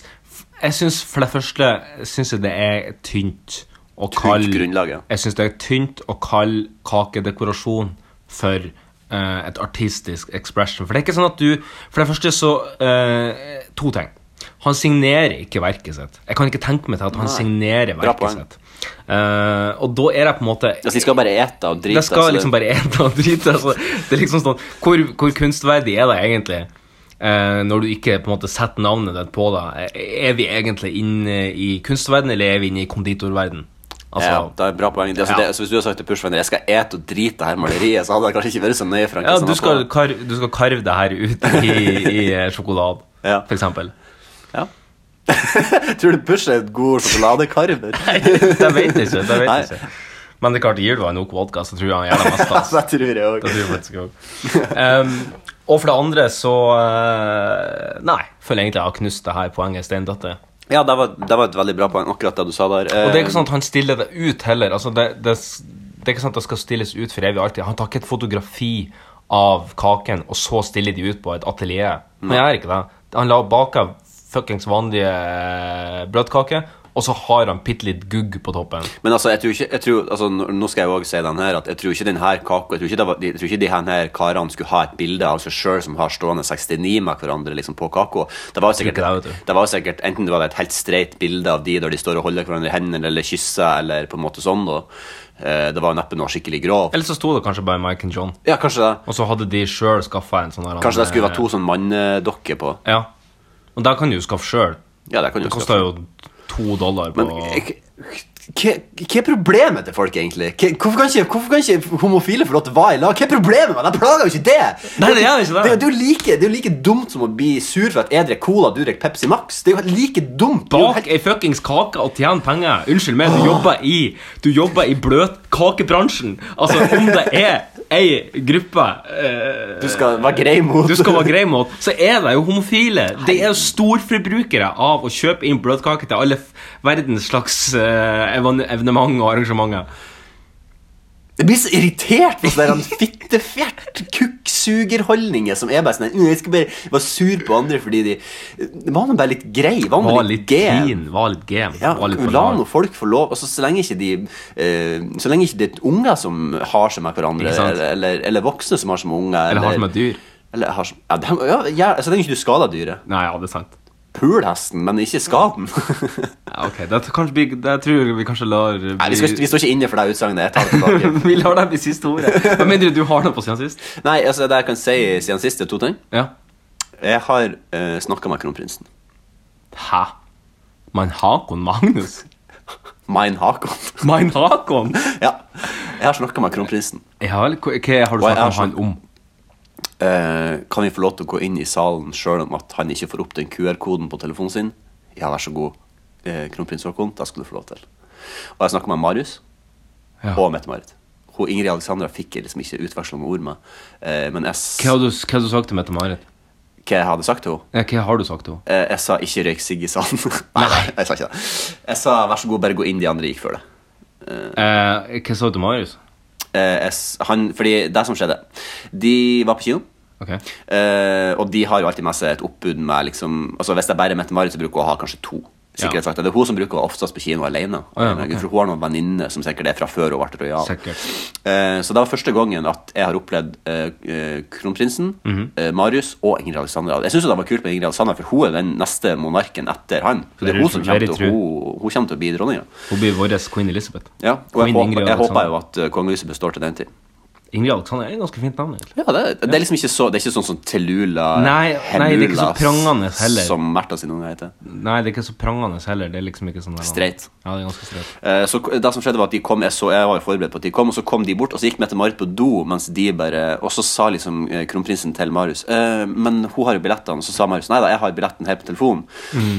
jeg syns for det første syns jeg det er tynt å det er kalle grunnlaget? Jeg syns det er tynt å kalle kakedekorasjon for eh, et artistisk expression. For det er ikke sånn at du For det første så eh, To ting. Han signerer ikke verket sitt. Jeg kan ikke tenke meg til at han signerer Bra verket poeng. sitt. Eh, og da er det på en måte Altså, de skal bare ete og drite. det skal så det- liksom bare ete og drite. Altså. Det er liksom sånn, hvor, hvor kunstverdig er det egentlig? Eh, når du ikke på en måte setter navnet ditt på det. Eh, Er vi egentlig inne i kunstverden, eller er vi inne i konditorverden? Altså, ja, det er et bra poeng. Det, altså, Ja. det, altså, hvis du hadde sagt til Pushvenner jeg skal ete og drite det her maleriet, så hadde jeg kanskje ikke vært så nøye. Frank, ja, som du, jeg skal var. karve, du skal karve det her ut i, i eh, sjokolade, Ja. for eksempel. ja. Tror du Push er et god sjokoladekarver? Nei, det vet jeg ikke. Det vet Nei. jeg ikke. Men det er klart, gir du ham nok vodka, så tror jeg han gjør det meste. Altså. det tror jeg Det tror òg. jeg faktisk også. Um, og for det andre så eh, Nei, føler jeg egentlig jeg har knust det her poenget steindøtte. Ja, det var, det var et veldig bra poeng, akkurat det du sa der. Eh, Og det er ikke sånn at han stiller det ut heller. Altså, det, det, det er ikke sånn at det skal stilles ut for evig og alltid. Han tar ikke et fotografi av kaken, og så stiller de ut på et atelier. Han gjør ikke det. Han la baka fuckings vanlige eh, brødkaker, og så har han bitte litt gugg på toppen. Men altså, jeg tror ikke jeg tror, altså, nå- Nå skal jeg òg si den her at jeg tror ikke den her kaka Jeg tror ikke, det var, de- jeg tror ikke de her her karene skulle ha et bilde av seg sjøl som har stående 69 med hverandre liksom, på kaka. Det var jo sikkert, Tror ikke det, vet du. det var jo sikkert enten det var et helt streit bilde av de der de står og holder hverandre i hendene eller kysser eller på en måte sånn, da. Eh, Det var jo neppe noe skikkelig grovt. Eller så sto det kanskje bare Mike and John, Ja, kanskje det. og så hadde de sjøl skaffa en sånn her- Kanskje det skulle være to sånn mannedokker på. Ja. Og der kan du jo skaffe sjøl. Ja, det kan jo Det koster jo to dollar på Men eh, jeg- hva hva er problemet til folk, egentlig? Hva- Hvorfor kan ikke, hvorfor kan ikke homofile få lov til å være i lag? Hva er problemet med det? Jeg plager jo ikke det! Nei, det gjør jo ikke det. Det, er jo like, det er jo like dumt som å bli sur for at jeg drikker cola, du drikker Pepsi Max. Det er jo like dumt. Det er jo Bak ei fuckings kake og tjene penger. Unnskyld meg, du jobber i Du jobber i bløtkakebransjen. Altså, om det er ei gruppe eh, helt- du skal være grei mot du skal være grei mot, så er det jo homofile. De er jo storforbrukere av å kjøpe inn bløtkake til alle f- verdens slags eh, evan- evenement og arrangementer. Jeg blir så irritert på sånne der fittefjert kukksugerholdninger som er bare sånn «Mm, Jeg skal bare være sur på andre fordi de Var nå bare litt grei. Var nå Var bare litt litt gen. clean, var litt game. Ja, var litt på la lag. nå folk få lov. Altså, så lenge ikke de eh, Så lenge ikke det er unger som har seg med hverandre, Ikke sant? eller, eller, eller voksne som har seg med unger Eller har som et dyr. Eller har som, ja, dem- ja, ja, altså, så lenge ikke du skader dyret. Nei, ja, det er sant. Pul hesten, men ikke skad den. Nei, Ja, ok, det, er kanskje, vi- det tror jeg vi kanskje lar bli vi, skal, vi står ikke inne for det utsagnet. Jeg tar det tilbake. Vi lar det bli siste ordet. Med mindre du har noe på siden sist. Nei, altså, det jeg kan si siden sist, det er to ting. Ja. Jeg har uh, snakka med kronprinsen. Hæ? Mein Hakon Magnus? Mein Hakon. Mein Hakon? ja. Jeg har snakka med kronprinsen. Ja vel, hva hva har du Hva er snakket med det som- han om? Eh, kan vi få lov til å gå inn i salen sjøl om at han ikke får opp den QR-koden på telefonen sin? Ja, vær så god, eh, kronprins Haakon, da skal du få lov til. Og jeg snakka med Marius Ja. og Mette-Marit. Hun Ingrid Alexandra fikk jeg liksom ikke utveksla noen ord med. Eh, men jeg, s- Hva har du, hva har du sagt til Mette-Marit? hva jeg hadde sagt til Ja, henne? hva har du sagt til henne? Eh, jeg sa 'ikke røyk sigg i salen'. Nei, nei, jeg sa ikke det. Jeg sa 'vær så god, bare gå inn', de andre gikk før det. Eh, hva sa du til Marius? Eh, jeg, s- han, fordi det som skjedde De var på kino. Ok. Eh, og de har jo alltid med seg et oppbud med liksom Altså Hvis det bare er Mette-Marit, så bruker hun å ha kanskje to. Sikkerhetsvakter. Det er hun som bruker å være oftest på kino alene. Eh, Å ja, ok. For hun har noen venninner som sikkert er fra før hun ble rojal. Sikkert. Eh, så det var første gangen at jeg har opplevd eh, eh, kronprinsen, Mhm. eh, Marius og Ingrid Alexandra. Jeg syns det var kult med Ingrid Alexandra, for hun er den neste monarken etter han. Så det er Very hun som true, kommer very til, true. hun, hun kommer til å bli dronninga. Hun blir vår Queen Elizabeth. Ja, og jeg, Queen håper, Ingrid jeg håper Alexandra. jo at eh, kongehuset består til den tid. Ingrid Alexander er et ganske fint navn. egentlig. Ja, det, det er liksom ikke så Det er ikke sånn som Telula Nei, nei, det er ikke så Helula, prangende heller. Som Märtha sine unger heter. Nei, det er ikke så prangende heller. Det er liksom ikke sånn der- Streit. Ja, det er ganske streit. Eh, Så k- det som skjedde var at de kom Jeg, så, jeg var jo forberedt på at de kom, og så kom de bort. Og så gikk Mette-Marit på do, mens de bare Og så sa liksom eh, kronprinsen til Marius «Eh, Men hun har jo billettene. Og så sa Marius nei da, jeg har billetten her på telefonen.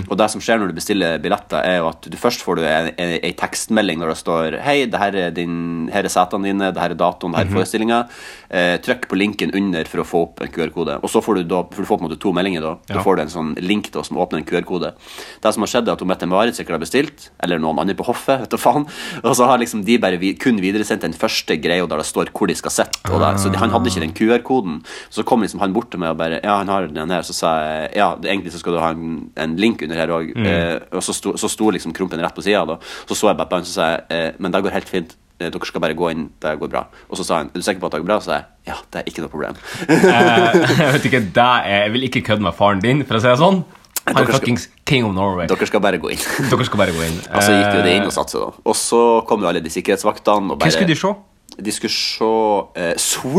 Og det som skjer når du bestiller billetter, er jo at du først får du en- en- ei tekstmelding når det står Hei, det her er, din, her er setene dine, det her er datoen, det her er forestillinga. Eh, trykk på linken under for å få opp en QR-kode. Og så får du da For du får på en måte to meldinger, da. Da Ja. får du en sånn link da, som åpner en QR-kode. Det som har skjedd, er at hun Mette-Marit sikkert har bestilt, eller noen andre på hoffet, vet du faen. Og så har liksom de bare vi, kun videresendt den første greia der det står hvor de skal sitte. og det- Så de, han hadde ikke den QR-koden. Så kom liksom han bort til meg og bare Ja, han har den her. Så sa jeg ja, det- egentlig så skal du ha en, en link under her òg. Eh, og så sto, så sto liksom Krompen rett på sida, da. Så så jeg bare på han, så sa jeg eh, Men det går helt fint. Eh, Dere skal bare gå inn. Det går bra. Og så sa han Er du sikker på at det går bra? Så sa jeg ja, det er ikke noe problem. Eh, jeg vet ikke, det er, jeg vil ikke kødde med faren din, for å si det sånn. Han Dere er skal- fuckings king of Norway. Dere skal bare gå inn. Dere skal bare gå inn. Eh, Og så gikk jo det inn og satte seg, da. Og så kom jo alle de sikkerhetsvaktene. Hva Og bare, skulle de se? De skulle se eh,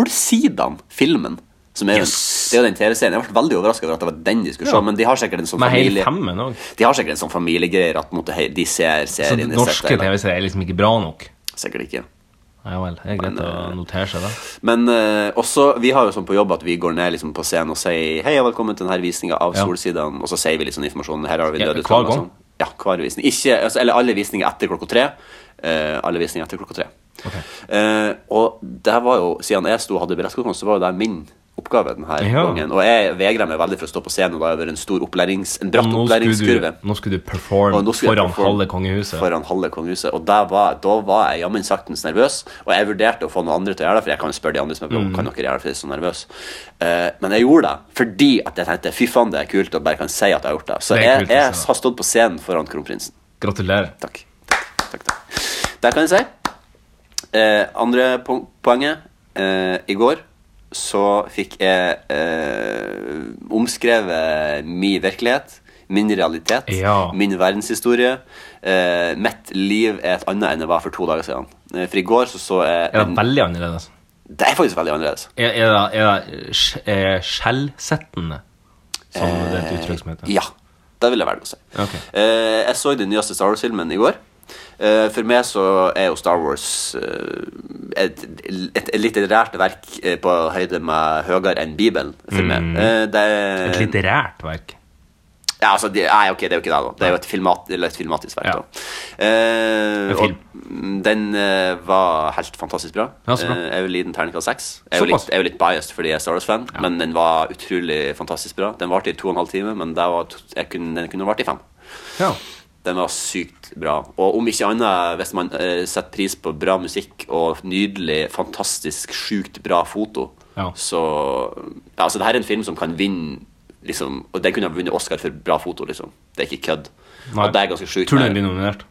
Solsidan, filmen. Som er, Yes. Det er jo den TV-serien. Jeg ble veldig overraska over at det var den de skulle se. Ja. Men de har sikkert en sånn Med hele familie femmen òg. De har sikkert en sånn familiegreier at på en måte, hei, de ser Så serien det de Sånn norske setter, eller- TV-serier er liksom ikke bra nok. Sikkert ikke. Ja vel, det er greit eh, å notere seg det. Men eh, også, vi har jo sånn på jobb at vi går ned liksom, på scenen og sier Hei og velkommen til denne visninga av Ja. Solsidan. Og så sier vi litt sånn informasjon. Her har vi Ja, døde hver utganger, gang? sånn. Ja, hver visning. Ikke, altså, eller alle visninger etter klokka tre. Eh, alle visninger etter klokka tre. Eh, og det var jo, siden jeg sto og hadde billettkonkurranse, så var jo det min oppgave denne Ja. gangen. Og jeg vegrer meg veldig for å stå på scenen, og det har vært en stor opplærings, en bratt Nå skulle du, opplæringskurve. nå skulle du performe Og nå skulle jeg foran performe halve kongehuset. Foran halve kongehuset. Og da var, da var jeg jammen saktens nervøs. Og jeg vurderte å få noen andre til å gjøre det, for jeg kan jo spørre de andre som er på Mm. Kan dere gjøre det, for jeg er så nervøs. Eh, men jeg gjorde det fordi at jeg tenkte fy faen, det er kult, og bare kan si at jeg har gjort det. Så Det er jeg, kult å jeg si. har stått på scenen foran kronprinsen. Gratulerer. Takk. Takk, takk. takk. Der kan jeg si. Eh, andre po poenget. Eh, I går så fikk jeg eh, omskrevet min virkelighet, min realitet, Ja. min verdenshistorie. Eh, mitt liv er et annet enn det var for to dager siden. Eh, For i går så så jeg Er det en- veldig annerledes? Det er faktisk veldig annerledes. Er, er det, er det sj- eh, skjellsettende, som det er et uttrykk som heter? Eh, Ja. Det vil jeg velge å si. Ok. Eh, jeg så den nyeste Star Wars-filmen i går. Eh, for meg så er jo Star Wars eh, et, et, et litterært verk eh, på høyde med høyere enn Bibelen. For meg. Eh, det er, Mm. Et litterært verk. ja, altså, det, nei, ok, det er jo ikke det, da. Det er jo et, filmat, eller et filmatisk verk. Ja. da. Eh, En film. Og den eh, var helt fantastisk bra. Ja, så bra. Eh, jeg vil gi den terningkast seks. Jeg er Såpass. jo litt- jeg er jo litt biased fordi jeg er Star Wars-fan, men den var utrolig fantastisk bra. Den varte i to og en halv time, men det var, to- jeg kunne, den kunne vart i fem. Ja. Den var sykt bra. Og om ikke annet, hvis man eh, setter pris på bra musikk og nydelig, fantastisk, sjukt bra foto, Ja. så ja, Altså, det her er en film som kan vinne liksom, Og den kunne ha vunnet Oscar for bra foto, liksom. Det er ikke kødd. Nei. Og det er ganske sjukt. Tror du den men blir nominert?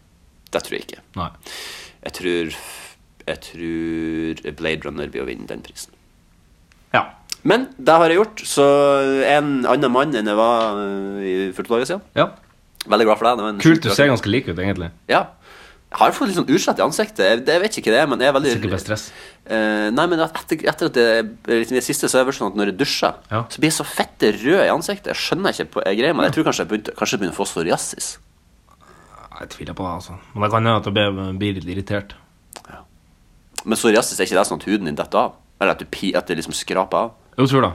Det tror jeg ikke. Nei. Jeg tror, jeg tror Blade Runner blir å vinne den prisen. Ja. Men det har jeg gjort, så en annen mann enn jeg var øh, i 40 dager siden. ja. Veldig glad for deg. det var en Kult. sjukt Du bra ser film. ganske lik ut, egentlig. Ja. Jeg har fått litt sånn utslett i ansiktet. Jeg, det- jeg vet ikke hva det er, men jeg er veldig Sikkert bare stress. Eh, nei, men at etter, etter at det er liksom, i det siste, så er det vel sånn at når jeg dusjer, Ja. så blir jeg så fette rød i ansiktet. Jeg skjønner ikke på jeg greier meg. Jeg tror kanskje jeg begynte, kanskje jeg begynner å få psoriasis. Jeg tviler på det, altså. Men det kan hende at jeg blir- blir litt irritert. Men psoriasis er ikke det sånn at huden din detter av? Eller at, du, pi- at det liksom skraper av? Jo, tror det.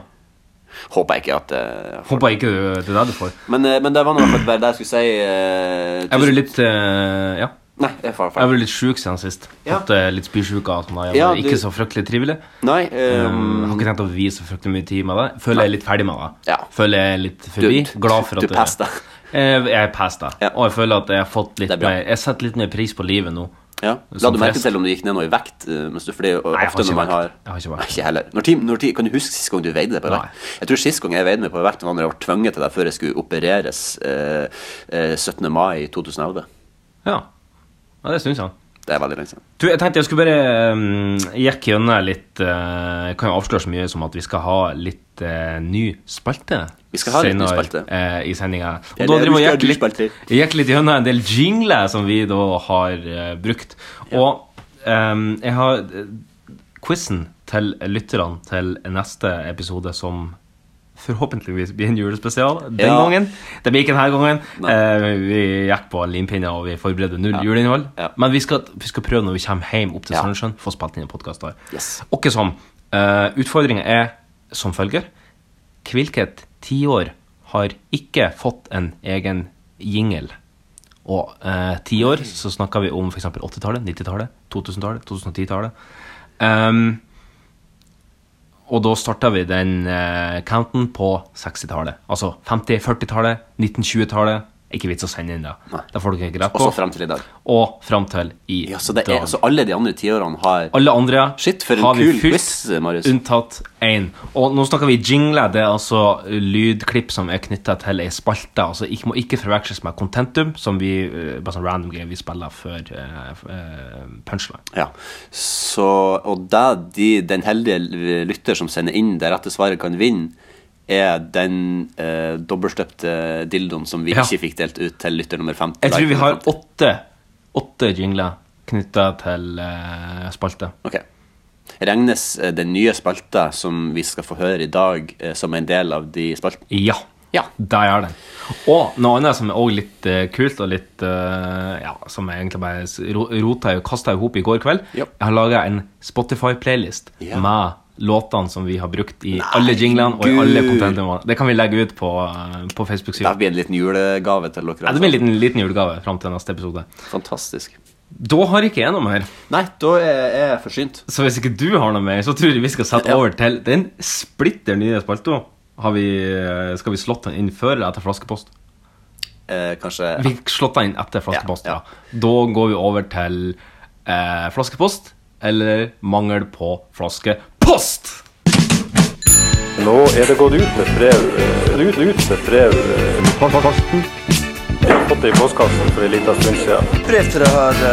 Håper jeg ikke at eh, Håper ikke du, det er det du får. men, eh, men det var nå i hvert fall bare det jeg skulle si. eh, Jeg har tusen- vært litt eh, Ja. Nei, jeg er ferdig. Jeg har vært litt sjuk siden sist. Ja. Hatt eh, litt spysjuke og sånn. Ja, Ja, du- Ikke så fryktelig trivelig. Nei, eh, Um, har ikke tenkt å vie så fryktelig mye tid med det. Føler jeg er litt ferdig med det. Ja. Føler jeg er litt forbi. Du- Glad for du at passet det. Jeg, jeg passet det. Ja. Og jeg føler at jeg har fått litt Det er bra. mer Jeg setter litt mer pris på livet nå. ja. La Som du merke flest. til om du gikk ned noe i vekt? eh, mens du, for det er Nei, jo jeg har ofte ikke når man vekt. har Jeg har ikke vekt. Nei, ikke heller. Når tid, når tid, kan du huske sist gang du veide deg på Nei. vekt? Jeg tror sist gang jeg veide meg på vekt, var når jeg var tvunget til det før jeg skulle opereres eh, eh, 17. mai 2011. Ja. ja det syns jeg. Det er veldig lenge siden. Du, jeg tenkte jeg skulle bare um, gikk gjennom litt eh, Jeg kan jo avsløre så mye som at vi skal ha litt eh, ny spalte. Vi skal ha litt ny senere, spalte. eh, I sendinga. Og Ja, da driver det- vi vi skal og ha ny gikk litt, spalte. gikk litt gjennom en del jingler som vi da har eh, brukt. Og em, jeg har eh, quizen til lytterne til neste episode som Forhåpentligvis blir en julespesial den Ja. gangen. Det blir ikke denne gangen. Nei. Eh, vi gikk på limpinner og vi forberedte null juleinnhold. Ja. Men vi skal, vi skal prøve når vi kommer hjem opp til Ja. Sandnessjøen, få spilt inn en podkast der. Yes. Åkke som. eh, utfordringen er som følger. Hvilket tiår har ikke fått en egen jingle? Og eh, tiår så snakker vi om f.eks. 80-tallet, 90-tallet, 2000-tallet, 2010-tallet. Ehm, og da starta vi den eh, counten på 60-tallet. Altså 50-, 40-tallet, 1920-tallet. Ikke vits å sende inn det. Nei. Det får dere ikke rett på. Også frem til i dag. Og frem til i Ja, så, det dag. er, så alle de andre tiårene har Alle andre Shit, for en har vi kul fylt, quiz, Marius. Unntatt én. Og nå snakker vi jingle. Det er altså lydklipp som er knytta til ei spalte. Altså ikke, må ikke forveksles med contentum, som vi eh, bare sånn random game vi spiller før eh, f- eh, punchline. Ja. Så, og det de, den heldige lytter som sender inn det rette svaret, kan vinne, er den eh, dobbeltstøpte dildoen som vi Ja. ikke fikk delt ut til lytter nummer 50. Jeg tror vi har åtte. åtte, åtte jingler knytta til eh, spalte. Ok. Regnes eh, den nye spalta som vi skal få høre i dag, eh, som en del av de spaltene? Ja. Ja. Det gjør den. Og noe annet som er også litt eh, kult, og litt eh, Ja, som jeg egentlig bare s- ro- rota og kasta i hop i går kveld Ja. Jeg har laga en Spotify-playlist Ja. med låtene som vi har brukt i alle jinglene og i alle Gud. contentene. Det kan vi legge ut på, eh, på Det Facebook-sida. blir en liten julegave til dere. Ja, det blir en liten, liten julegave fram til neste episode. altså. Fantastisk. Da har ikke jeg noe mer. Nei, da er er jeg forsynt. Så hvis ikke du har noe mer, så tror jeg vi skal sette Ja. over til den splitter nye spalta. Har vi, eh, skal vi slått den inn før eller etter flaskepost? Eh, kanskje Vi slått deg inn etter flaskepost, ja, Ja, Da går vi over til eh, flaskepost, eller mangel på flaskepost! Nå er det gått ut med brev. eh, Ut, ut med brev. eh, Jeg har fått det i postkassen for en liten stund siden.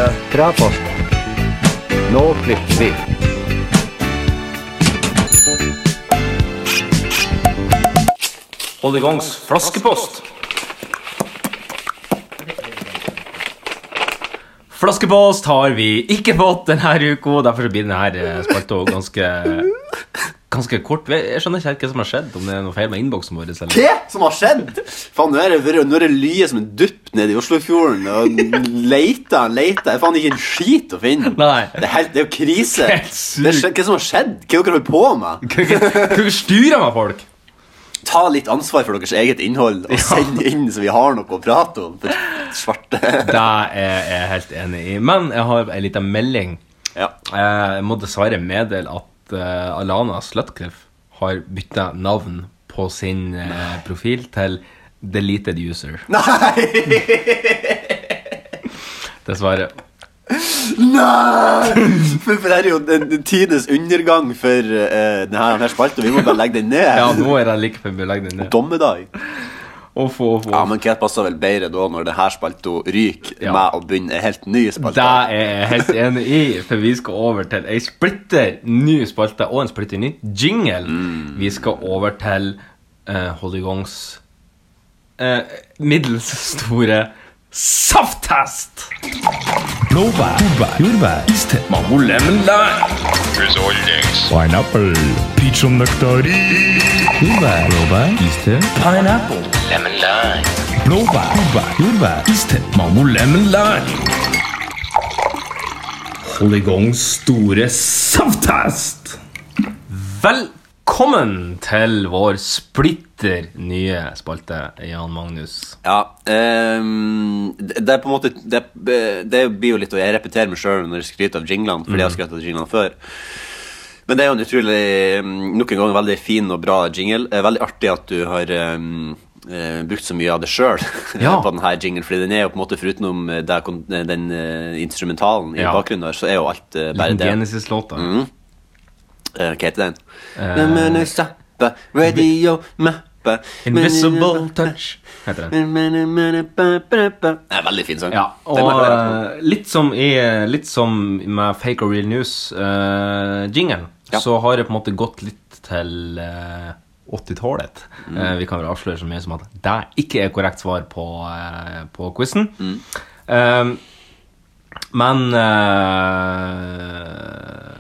Hold i gangs flaskepost! Flaskepost har vi ikke fått denne uka, derfor så blir denne eh, spalta ganske Ganske kort. Jeg skjønner ikke helt hva som har skjedd, om det er noe feil med innboksen vår. eller- Hva som har skjedd? Faen, nå er det, vært- nå er det lyet som en dupp nede i Oslofjorden. Og leter og leter. Det er faen ikke en skit å finne. Nei. Det, er helt, det er jo krise. Helt sykt. Det er skje- hva som har skjedd? Hva dere holder på med? Kan ikke- kan ikke styre meg, folk! Ta litt ansvar for deres eget innhold, og send inn så vi har noe å prate om. For svarte Det er jeg helt enig i. Men jeg har ei lita melding. Ja. Eh, Jeg må dessverre meddele at eh, Alana Slutcliffe har bytta navn på sin eh, profil til Deleted User. Nei! Dessverre. Nei! For, for det er jo den, den tidenes undergang for eh, denne her spalten. Vi må bare legge den ned. Ja, nå er jeg like før vi legger den ned. Dommedag. Uff, uff, Ja, uff. men hva passer vel bedre da, når det her spalta ryker, Ja. med å begynne en helt ny spalte? Det er jeg helt enig i, for vi skal over til ei splitter ny spalte og en splitter ny jingle. Mm. Vi skal over til uh, Hollygongs eh, middels store safttest. Blåbær, jordbær, jordbær, iste, mango, lemon, lime, pineapple, peach og nektarin. Jordbær, blåbær, iste, pineapple, lemon, lime. Blåbær, jordbær, jordbær, iste, mango, lemon, lime. Hollygongs store safttest! Velkommen til vår splitter nye spalte, Jan Magnus. Ja, ehm, det, det er på en måte Det, det blir jo litt å Jeg repeterer meg sjøl når jeg skryter av jinglene, fordi jeg Mhm. har skrytt av jinglene før. Men det er jo en utrolig mm, Nok en gang veldig fin og bra jingle. Eh, Veldig artig at du har ehm, eh, brukt så mye av det sjøl Ja. på denne jinglen. Fordi den er jo på en måte forutenom eh, det, kon- den eh, instrumentalen i Ja. bakgrunnen der, så er jo alt eh, bare Liten det. Mm. Mhm. Genesis-låta. Eh, Hva heter den? Eh. Na, na, na, stoppa, Radio mappa Invisible Touch heter den. Det er veldig fin sang. Ja, Det må jeg og høre på. eh, litt som, i, litt som med Fake or Real News-jingelen, Ja. så har det på en måte gått litt til eh, 80-tallet. Mm. Eh, vi kan vel avsløre så mye som at det ikke er korrekt svar på, uh, på quizen. Mm. Eh, men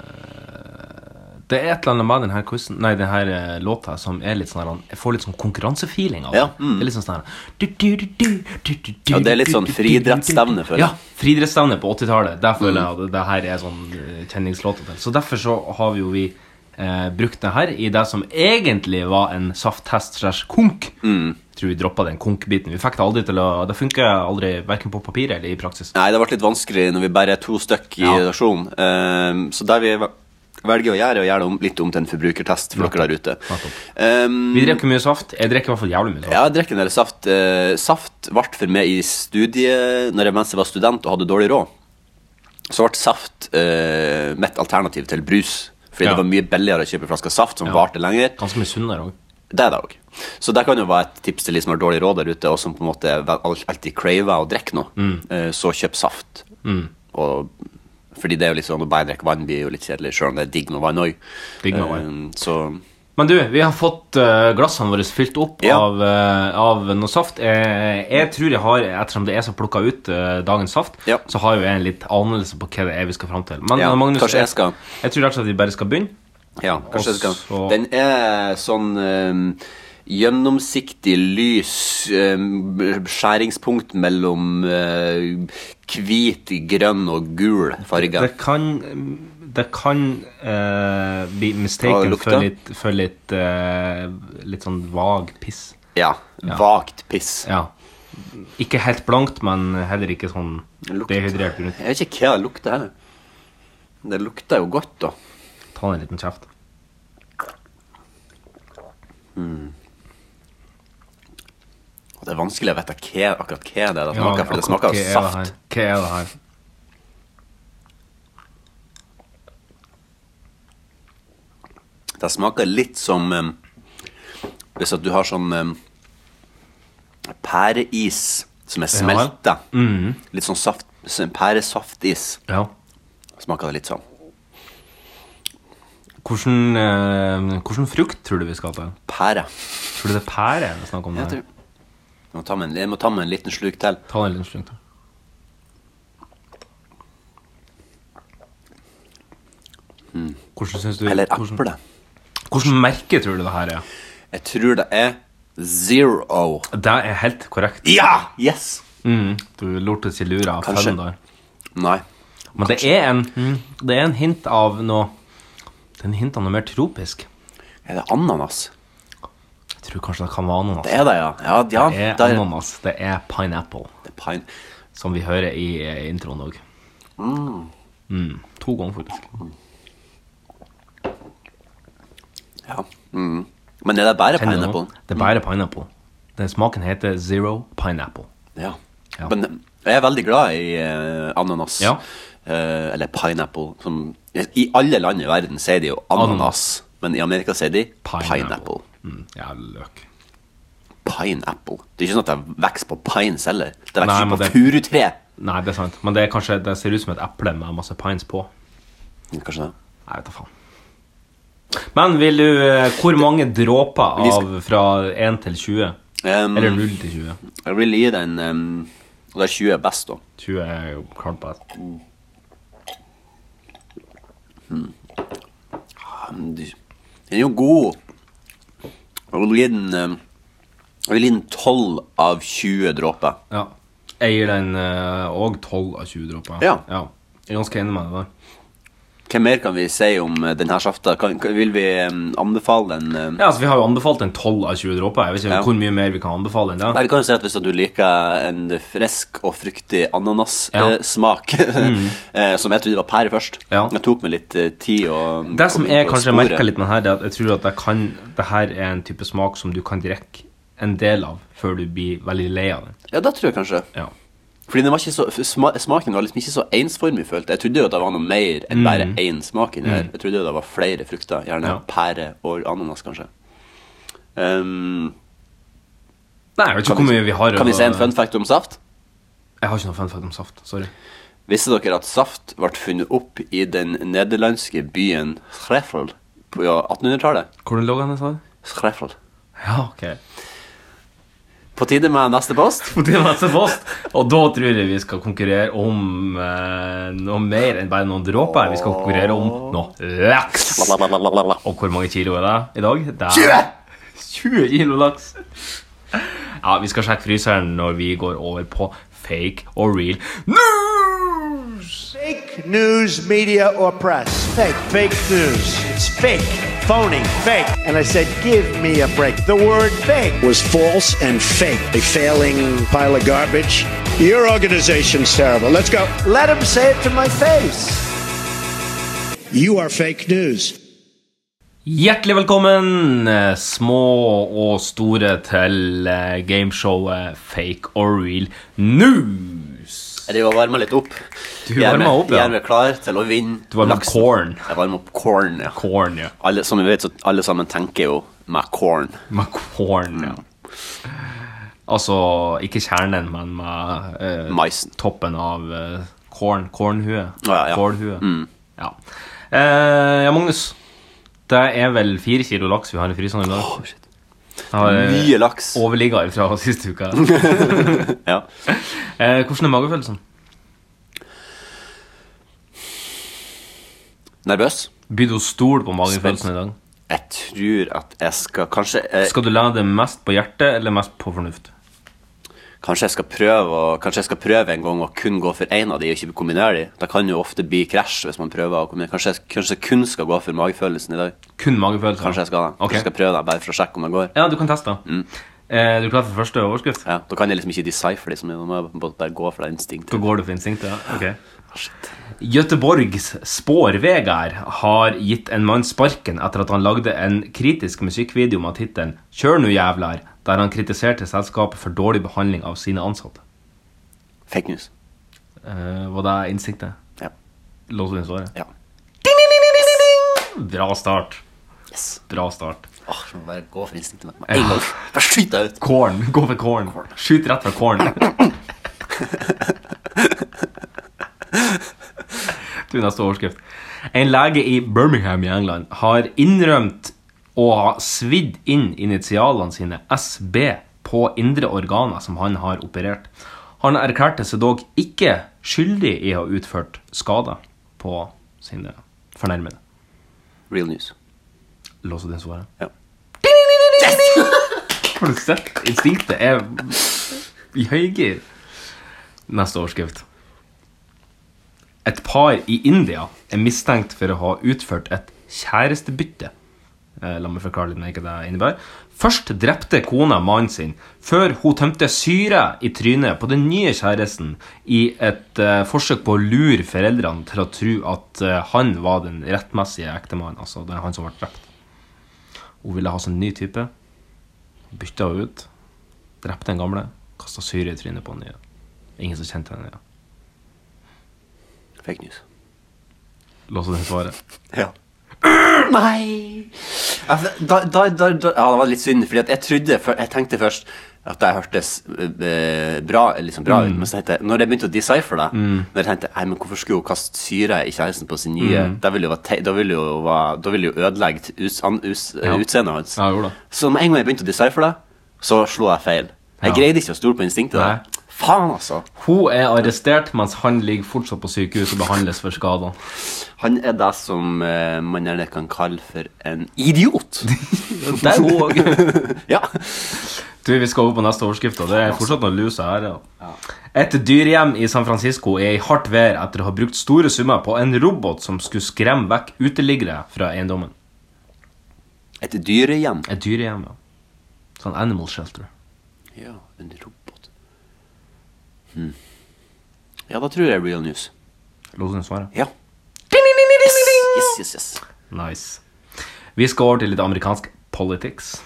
eh, det er et eller annet med denne quizen Nei, denne eh, låta som er litt sånn her, Jeg får litt sånn konkurransefeeling av Ja, det. mm. Det er litt sånn sånn her, du, du, du, du, du, du, Ja, det er litt sånn friidrettsstevne, føler jeg. Ja, friidrettsstevne på 80-tallet. Der føler jeg at det her er sånn eh, kjenningslåta til. Så derfor så har vi jo vi eh, brukt det her i det som egentlig var en safttest slash konk. Mm. Jeg tror vi droppa den konk-biten. Vi fikk det aldri til å Det funker aldri verken på papiret eller i praksis. Nei, det ble litt vanskelig når vi bare er to stykk i Ja. redaksjonen. Ehm, så det vi ve- velger å gjøre, er å gjøre det om, litt om til en forbrukertest for dere der ute. Ehm, Vi drikker mye saft. Jeg drikker i hvert fall jævlig mye saft. ja, jeg drikker en del saft. Eh, saft ble for meg i studiet når jeg, mens jeg var student og hadde dårlig råd. Så ble saft eh, mitt alternativ til brus. Fordi Ja. det var mye billigere å kjøpe en flaske saft som Ja. varte lenger. Ganske mye sunnere òg. Det er det òg. Så det kan jo være et tips til de som har dårlig råd der ute, og som på en måte vel- al- alltid craver å drikke noe. Mm. Eh, Så kjøp saft. Og, fordi det er jo litt sånn å bare drikke vann blir jo litt kjedelig, sjøl om det er digg med vann òg. Digg med vann. Så Men du, vi har fått eh, glassene våre fylt opp Ja. av, eh, av noe saft. Eh, jeg tror jeg har, ettersom det er som plukka ut eh, dagens saft, Ja. så har jo jeg en litt anelse på hva det er vi skal fram til. Men Ja, eh, Magnus, kanskje jeg skal- jeg tror rett og slett vi bare skal begynne. ja, kanskje jeg skal så- Den er sånn eh, gjennomsiktig lys eh, skjæringspunkt mellom eh, hvit, grønn og gul farger. Det kan, det kan eh, bli Hva mistaken lukter? for litt, for litt, eh, litt sånn vag piss. Ja. Vagt piss. Ja. Ikke helt blankt, men heller ikke sånn Lukt. dehydrert. rundt. Jeg vet ikke hva det lukter her. Det lukter jo godt, da. Ta en liten kjeft. Og Det er vanskelig å vite hva, akkurat hva det er det Ja, smaker, for det smaker akkurat hva av er det her? saft. Hva er det her? Det smaker litt som um, Hvis at du har sånn um, pæreis som er smelta. Mm. Litt sånn saft, sånn pæresaftis Ja. smaker det litt sånn. Hvordan, eh, hvordan frukt tror du vi skal til? Pære. Tror du det er pære vi snakker om? Jeg, her? tror, jeg, må ta med en, jeg må ta med en liten sluk til. Ta en liten slurk, da. Hvordan synes du Eller hvordan, eple. hvordan merke tror du det her er? Jeg tror det er zero. Det er helt korrekt. Ja! Yes! Mm. Du lortes i lura av Kanskje. fem der. Nei. Men det er, en, det er en hint av noe Det er en hint av noe mer tropisk. Er det ananas? Jeg tror kanskje det kan være ananas. Det er det, ja. Ja, ja Det er der- ananas. Det er pineapple. det er pine. Som vi hører i eh, introen òg. Mm. To ganger, faktisk. Ja. Mm. Men er det bare Kjenner du pineapple? nå? Det er bare pineapple. Den smaken heter zero pineapple. Ja. Ja. Men eh, Jeg er veldig glad i eh, ananas. Ja. Eh, eller pineapple. Som, I alle land i verden sier de jo ananas, men i Amerika sier de pineapple. Pineapple. Mm, jævlig løk. Pineapple. Det er ikke sånn at det vokser på pines heller. Det Nei, vokser men ikke på det- furutre. Nei, det er sant. Men det, er kanskje, det ser ut som et eple med masse pines på. Kanskje det. Nei, vet da faen. Men vil du eh, Hvor mange dråper Vi Mm. av fra 1 til 20? Em, Eller 0 til 20? Um, jeg vil gi den em, Og det er 20 er best, da. 20 er jo klart best. Ja, men de- Den er jo god. Jeg vil gi den em, Jeg vil gi den 12 av 20 dråper. Ja. Jeg gir den òg 12 av 20 dråper. Ja. Jeg er ganske enig med deg der. Hva mer kan vi si om eh, denne safta? Kan, kan, vil vi em, anbefale den eh? em, Ja, altså Vi har jo anbefalt en 12 av 20 dråper. Jeg vet ikke Ja. hvor mye mer vi kan anbefale enn det. Nei, vi kan jo si at Hvis at du liker en frisk og fruktig Ja. Mm. ananassmak, eh, som jeg trodde var pære først Ja. Jeg tok meg litt eh, tid og Det som jeg kanskje merker merker litt med det her, det er at jeg tror at det, kan, det her er en type smak som du kan drikke en del av før du blir veldig lei av den. Ja, det tror jeg kanskje. Ja. Fordi den var ikke så, f- sma, smaken var liksom ikke så ensformig, følte jeg. Jeg trodde jo at det var noe mer enn bare én smak inni her. Jeg trodde jo det var flere frukter. Gjerne Mm. Ja. pære og ananas, kanskje. Ehm, Nei, jeg vet ikke Kan hvor vi- mye vi har. kan vi å- si en fun fact om saft? Jeg har ikke noe fun fact om saft. Sorry. Visste dere at saft ble funnet opp i den nederlandske byen Schreffel på 1800-tallet? Hvordan lå den, sa du? Schreffel. Ja, ok. På tide med neste post. På tide med neste post. Og da tror jeg vi skal konkurrere om eh, noe mer enn bare noen dråper. Vi skal konkurrere om noe laks. Og hvor mange kilo er det i dag? Det er 20 kilo laks. Ja, vi skal sjekke fryseren når vi går over på fake og real news. Fake news, media, or press. Fake. Fake news. It's fake. Phony. Fake. And I said, give me a break. The word fake was false and fake. A failing pile of garbage. Your organization's terrible. Let's go. Let him say it to my face. You are fake news. Hjertelig velkommen, eh, små og store, til eh, gameshowet Fake or Real News. Jeg driver og varmer litt opp. Du Gjør varmer meg- opp, ja. Gjør meg klar til å vinne. Du var med laksen. corn. Jeg varmer opp corn, ja. Corn, ja. Alle, som vi vet, så alle sammen tenker jo med corn. Med corn, ja. Altså ikke kjernen, men med eh, Maisen. toppen av eh, corn. Cornhue. Ja, Mm. ja. Kålhue. Ja. Eh, ja, Magnus. Det er vel fire kilo laks vi har i fryseren i dag. Jeg har eh, Mye laks. overligger fra siste uka. Ja. Eh, hvordan er magefølelsen? Nervøs? Begynner du å stole på magefølelsen i dag? Jeg tror at jeg skal Kanskje jeg, Skal du lene det mest på hjertet eller mest på fornuft? kanskje jeg skal prøve å, Kanskje jeg skal prøve en gang å kun gå for én av de og ikke kombinere de. Det kan jo ofte bli krasj hvis man prøver å kombinere. Kanskje jeg, kanskje jeg kun skal gå for magefølelsen i dag. Kun magefølelse? Kanskje jeg skal det. Kanskje Ok. jeg skal Mm. prøve det bare for å sjekke om det går. Ja, du kan teste. Eh, du er klar for første overskrift? Ja, da kan jeg liksom ikke decipher de så mye. Da må jeg bare gå for det instinktet. Da går du for instinktet, ja. Ok. Göteborgs spårvegar har gitt en mann sparken etter at han lagde en kritisk musikkvideo med tittelen 'Kjør nu jævlar', der han kritiserte selskapet for dårlig behandling av sine ansatte. Fake news. Eh, var det instinktet? Ja. Låste du inn svaret? Ja. Bra start. Yes. Bra start. Åh, jeg må bare gå for instinktet. med En gang. Bare skyt deg ut. Corn. Gå for corn. Skyt rett fra corn. Du, neste overskrift. En lege i Birmingham i England har innrømt å ha svidd inn initialene sine SB på indre organer som han har operert. Han erklærte seg dog ikke skyldig i å ha utført skader på sine fornærmede. Real news. Låser du inn svaret? Ja. Har du sett? Instinktet er i høygir. Neste overskrift. Et par i India er mistenkt for å ha utført et kjærestebytte. Eh, La meg forklare litt mer hva det innebærer. Først drepte kona mannen sin før hun tømte syre i trynet på den nye kjæresten i et eh, forsøk på å lure foreldrene til å tro at eh, han var den rettmessige ektemannen. Altså det er han som ble drept. Hun ville ha seg en ny type. Bytta hun ut. Drepte den gamle. Kasta syre i trynet på den nye. Ingen som kjente henne, ja. Fake news. Låser det svaret. Ja. Nei Ja, for da, da, da, da, ja, det var litt synd, Fordi at jeg trodde før- Jeg tenkte først at det hørtes eh, bra, liksom bra Mm. ut. Men så tenkte jeg når jeg begynte å decipher det Når jeg tenkte Nei, men hvorfor skulle hun kaste syre i kjæresten på sin nye Mm. Da ville hun, da ville hun, være- da ville hun ødelegge t- us, an, us, eh, utseendet hans. Ja, jeg gjorde det. så med en gang jeg begynte å decipher det, så slo jeg feil. Jeg Ja. greide ikke å stole på instinktet. Nei. der. Faen, altså. Hun er arrestert, mens han ligger fortsatt på sykehus og behandles for skadene. Han er det som eh, man gjerne kan kalle for en idiot. Det er hun også. ja. Du, Vi skal over på neste overskrift. og Det er fortsatt noen lus her. Ja. Et dyrehjem i San Francisco er i hardt vær etter å ha brukt store summer på en robot som skulle skremme vekk uteliggere fra eiendommen. Et dyrehjem. Et dyrehjem, ja. Sånn animal shelter. Ja, en robot. Hmm. Ja, da tror jeg real news. Låser du svaret? Ja. Yes, yes, yes, yes. Nice. Vi skal over til litt amerikansk politics.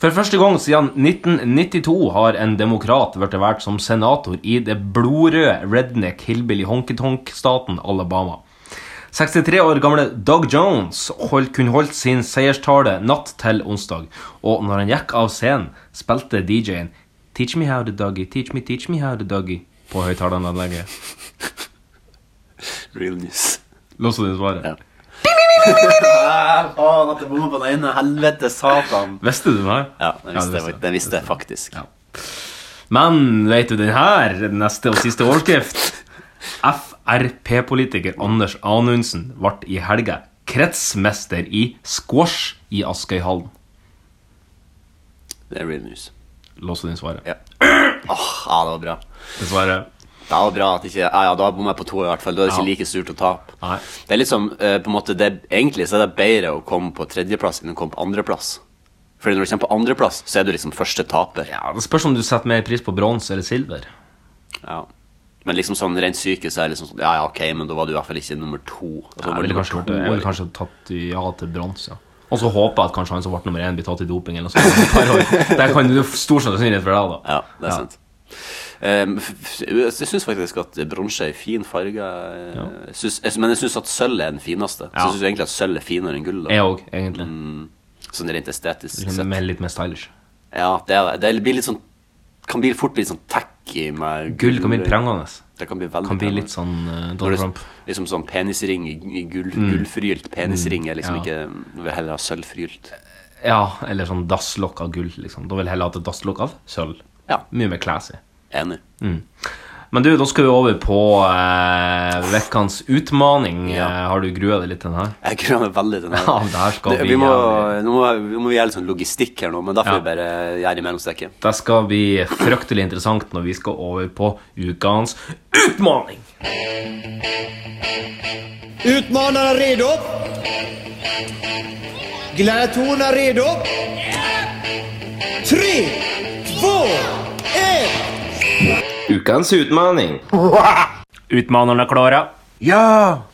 For første gang siden 1992 har en demokrat vært valgt som senator i det blodrøde redneck hillbilly honky-tonk-staten Alabama. 63 år gamle Doug Jones holdt, kunne holdt sin seierstale natt til onsdag. Og når han gikk av scenen, spilte DJ-en Teach me how to doggy, teach me, teach me how to doggy på høyttaleranlegget. Real news. Låste du svaret? Ja. Faen, at jeg bomma på den ene. Helvete, satan. Visste du den her? Ja, den du visste, jeg, den visste jeg faktisk. Ja. Men vet du den her? Neste og siste overskrift. Frp-politiker Anders Anundsen ble i helga kretsmester i squash i Askøyhallen. Det er real news. Låste din svaret. Ja. Åh, ja, det var bra. Dessverre. Det var bra at ikke Ja, ja, da bomma jeg på to, i hvert fall. Da er det ikke Ja. like surt å tape. Nei. Det er litt som, eh, på en måte, det, Egentlig så er det bedre å komme på tredjeplass enn å komme på andreplass. Fordi når du kommer på andreplass, så er du liksom første taper. Ja, Det spørs om du setter mer pris på bronse eller silver. Ja. Men liksom sånn rent psykisk så er det liksom sånn Ja, ja, ok, men da var du i hvert fall ikke nummer to. Og Jeg så var du ville nummer kanskje, to, vært- jeg ville eller- kanskje tatt ja til bronse. Og så håper jeg at kanskje han som ble nummer én, blir tatt i doping. eller noe sånt. Der kan du stor sannsynlighet for deg, da. Ja, det er sant. Ehm, f- f- jeg syns faktisk at bronse er en fin farge. eh, jeg synes, jeg, men jeg syns at sølv er den fineste. Så Ja. jeg syns egentlig at sølv er finere enn gull. Da. Jeg Liksom òg, egentlig. Sånn rent estetisk Litt sett. mer- litt mer stylish. Ja, det, er, det blir litt sånn Kan bli fort bli litt sånn tacky med Gull kan bli prangende. Det kan bli veldig Kan bli prangende. litt sånn eh, Når Donald det- Trump. Liksom sånn penisring i i gull, gullfrylt penisring er ja. liksom ikke Vil heller ha sølvfrylt. Ja, eller sånn dasslokk av gull, liksom. Da vil jeg heller ha et dasslokk av sølv. Ja. Mye mer classy. Enig. Men du, da skal vi over på eh, ukens utmaning. Ja. Eh, har du grua deg litt til den her? Jeg gruer meg veldig til den her. Ja, det her skal Det- bli vi må, jævlig. nå, må, nå må vi gjøre litt sånn logistikk her nå, men da får Ja. vi bare gjøre i mellomstrekket. Det skal bli fryktelig interessant når vi skal over på ukens utmaning. Utmanarna redo? Gladiatorerna redo? Tre, två, ett! Ukens utmaning. Utmanerne klare? Ja!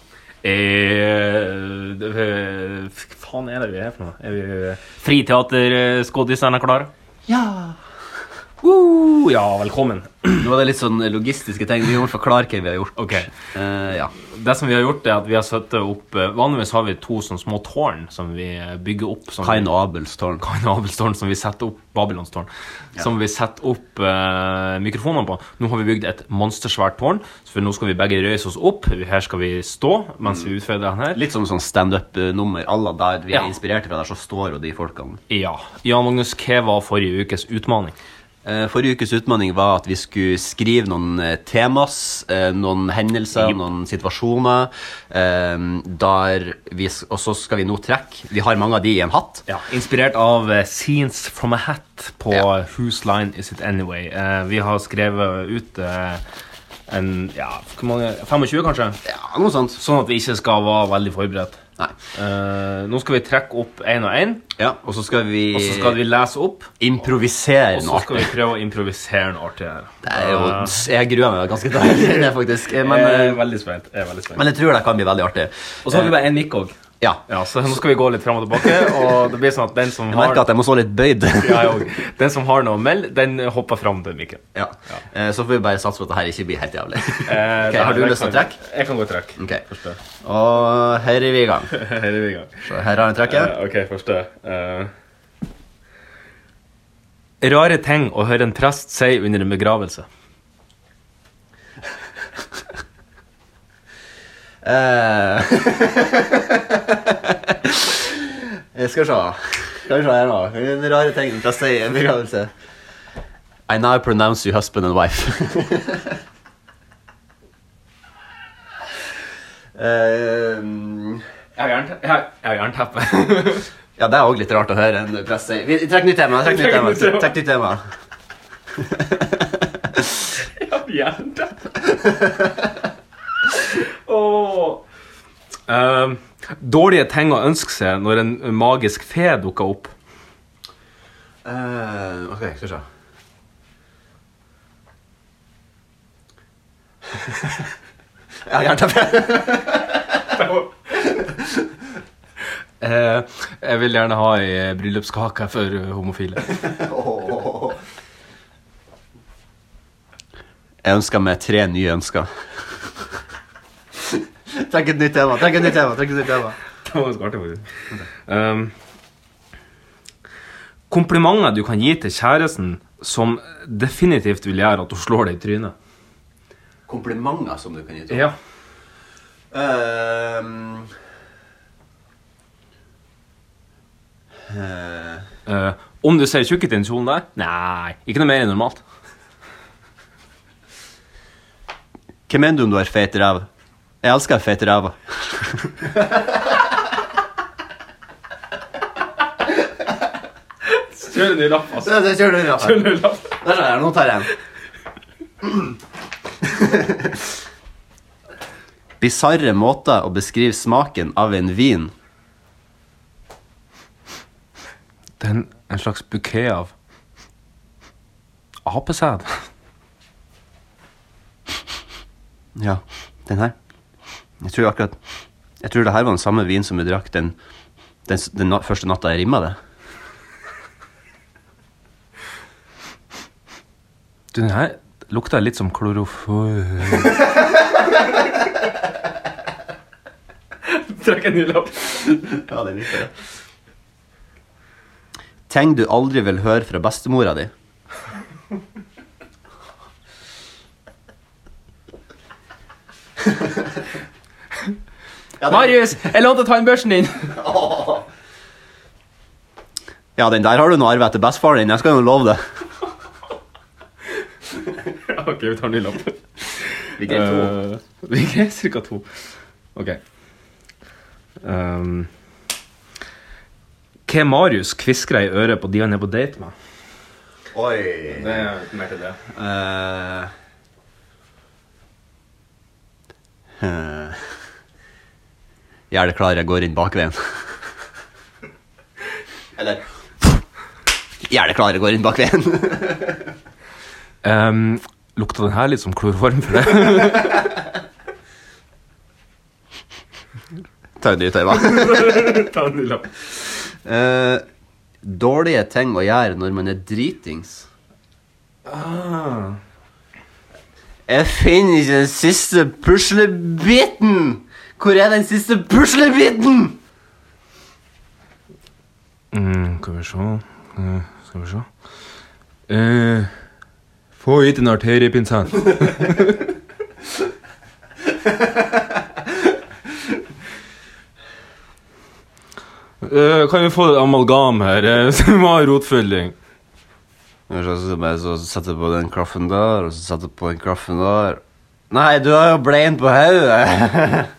Eh, det- eh, f- faen er det vi er for noe? Er vi eh, Friteaterskådiserne klare? Ja. Uh, ja, velkommen. Nå er det litt sånn logistiske ting. Vi må forklare hva vi har gjort. Eh, Ok. ja. Det som vi har gjort, er at vi har satt opp eh, Vanligvis har vi to sånne små tårn som vi eh, bygger opp. Som Kain og Abels tårn. Kain og Abelstårn, som vi setter opp Babylonstårn. Som vi setter opp eh, mikrofonene på. Nå har vi bygd et monstersvært tårn, så for nå skal vi begge røyse oss opp. Her skal vi stå mens vi utfører den her. Litt som sånn standup-nummer. Alle der vi Ja. er inspirert fra, der så står jo de folkene. Ja. Jan Magnus, hva var forrige ukes utmaning? Eh, forrige ukes utfordring var at vi skulle skrive noen eh, temas, eh, noen hendelser, noen situasjoner. Eh, der vi, s- og så skal vi nå trekke. Vi har mange av de i en hatt. Ja, Inspirert av eh, Scenes from a Hat på Ja. eh, Whose Line Is It Anyway. Eh, vi har skrevet ut eh, en ja, hvor mange, 25, kanskje? Ja, noe sånt. Sånn at vi ikke skal være veldig forberedt. Nei. Eh, nå skal vi trekke opp én og én, Ja, og så skal vi, og så skal vi lese opp. improvisere Og så noe skal artig. vi prøve å improvisere noe artig her. Eh, Det er jo, jeg gruer meg ganske til det, faktisk. Eh, Men, jeg eh, er veldig spent. Jeg er veldig spent. men jeg tror det kan bli veldig artig. Eh, Og så har vi bare én mikk òg. Ja. Ja, så nå skal vi gå litt fram og tilbake, og det blir sånn at den som Jeg har merker at jeg må stå litt bøyd. ja, jeg òg. Den som har noe å melde, den hopper fram til mikken. Ja. Eh, Så får vi bare satse på at det her ikke blir helt jævlig. Eh, Ok, har du jeg lyst til å kan- trekke? Jeg kan godt trekke. Ok, Og her er vi i gang. Her er vi i gang. Så her har jeg trekket. Eh, ok, første. eh. Rare ting å høre en prest si under en begravelse. Eh, Jeg skal se. Skal vi se her nå. Den rare tingen fra seg i begravelse. I now pronounce you husband and wife. Eh, Jeg har jernteppe. Jeg har- jeg har jernteppe. ja, det er òg litt rart å høre en prest si Vi- Trekk nytt tema. Trekk nytt tema. Trekk nytt tema. Jeg har jernteppe. Åh. Eh, dårlige ting å ønske seg når en magisk fe dukker opp. Eh, ok, skal vi se. Jeg har jernteppe. Eh, jeg vil gjerne ha ei eh, bryllupskake for eh, homofile. Jeg ønsker meg tre nye ønsker. Trekk et nytt tema. Trekk et nytt tema. trekk et nytt tema. Det var ganske artig, faktisk. Ehm, komplimenter du kan gi til kjæresten som definitivt vil gjøre at hun slår deg i trynet. Komplimenter som du kan gi til Ja. Ehm, eh, Eh, om du ser tjukk ut i den kjolen der? Nei, ikke noe mer enn normalt. Hva mener du om du har feit ræv? Jeg elsker feit ræv. Kjør en ny lapp, altså. Kjør du ræv. Kjør en ny lapp. Der er jeg, nå tar jeg en. Bisarre måter å beskrive smaken av en vin. Den, en slags bukett av apesæd. Ja, den her. Jeg tror akkurat Jeg tror det her var den samme vin som vi drakk den, den, s- den na- første natta jeg rimma det. Du, den her lukter litt som klorofor... Trekk en ny lapp. Ja, det likte jeg. Ting du aldri vil høre fra bestemora di. Marius, jeg lånte tannbørsten din! Ja, den der har du nå arvet etter bestefaren din. Jeg skal jo love det. ok, vi tar en ny lapp. Vi greier to. Eh, vi greier cirka to. Ok. Um, hva Marius kviskrer i øret på de han er på date med? Oi. Det er ikke mer til det. Eh. Eh. Jeg er det klar, jeg går inn bakveien. Eller Jeg er det klar, jeg går inn bakveien. Um, lukta den her litt som klorform for deg? Ta en ny tøyva. Ta en ny lapp. Eh, dårlige ting å gjøre når man er dritings. Ah. Jeg finner ikke den siste puslebiten! Hvor er den siste puslebiten? Mm, skal vi se Eh, Skal vi se Eh, Få hit en arteriepinsett. Eh, kan vi få et amalgam her? eh, så vi må ha rotfylling. Og så- så bare så setter jeg på den klaffen der, og så setter jeg på den klaffen der. Nei, du har jo blein på hodet!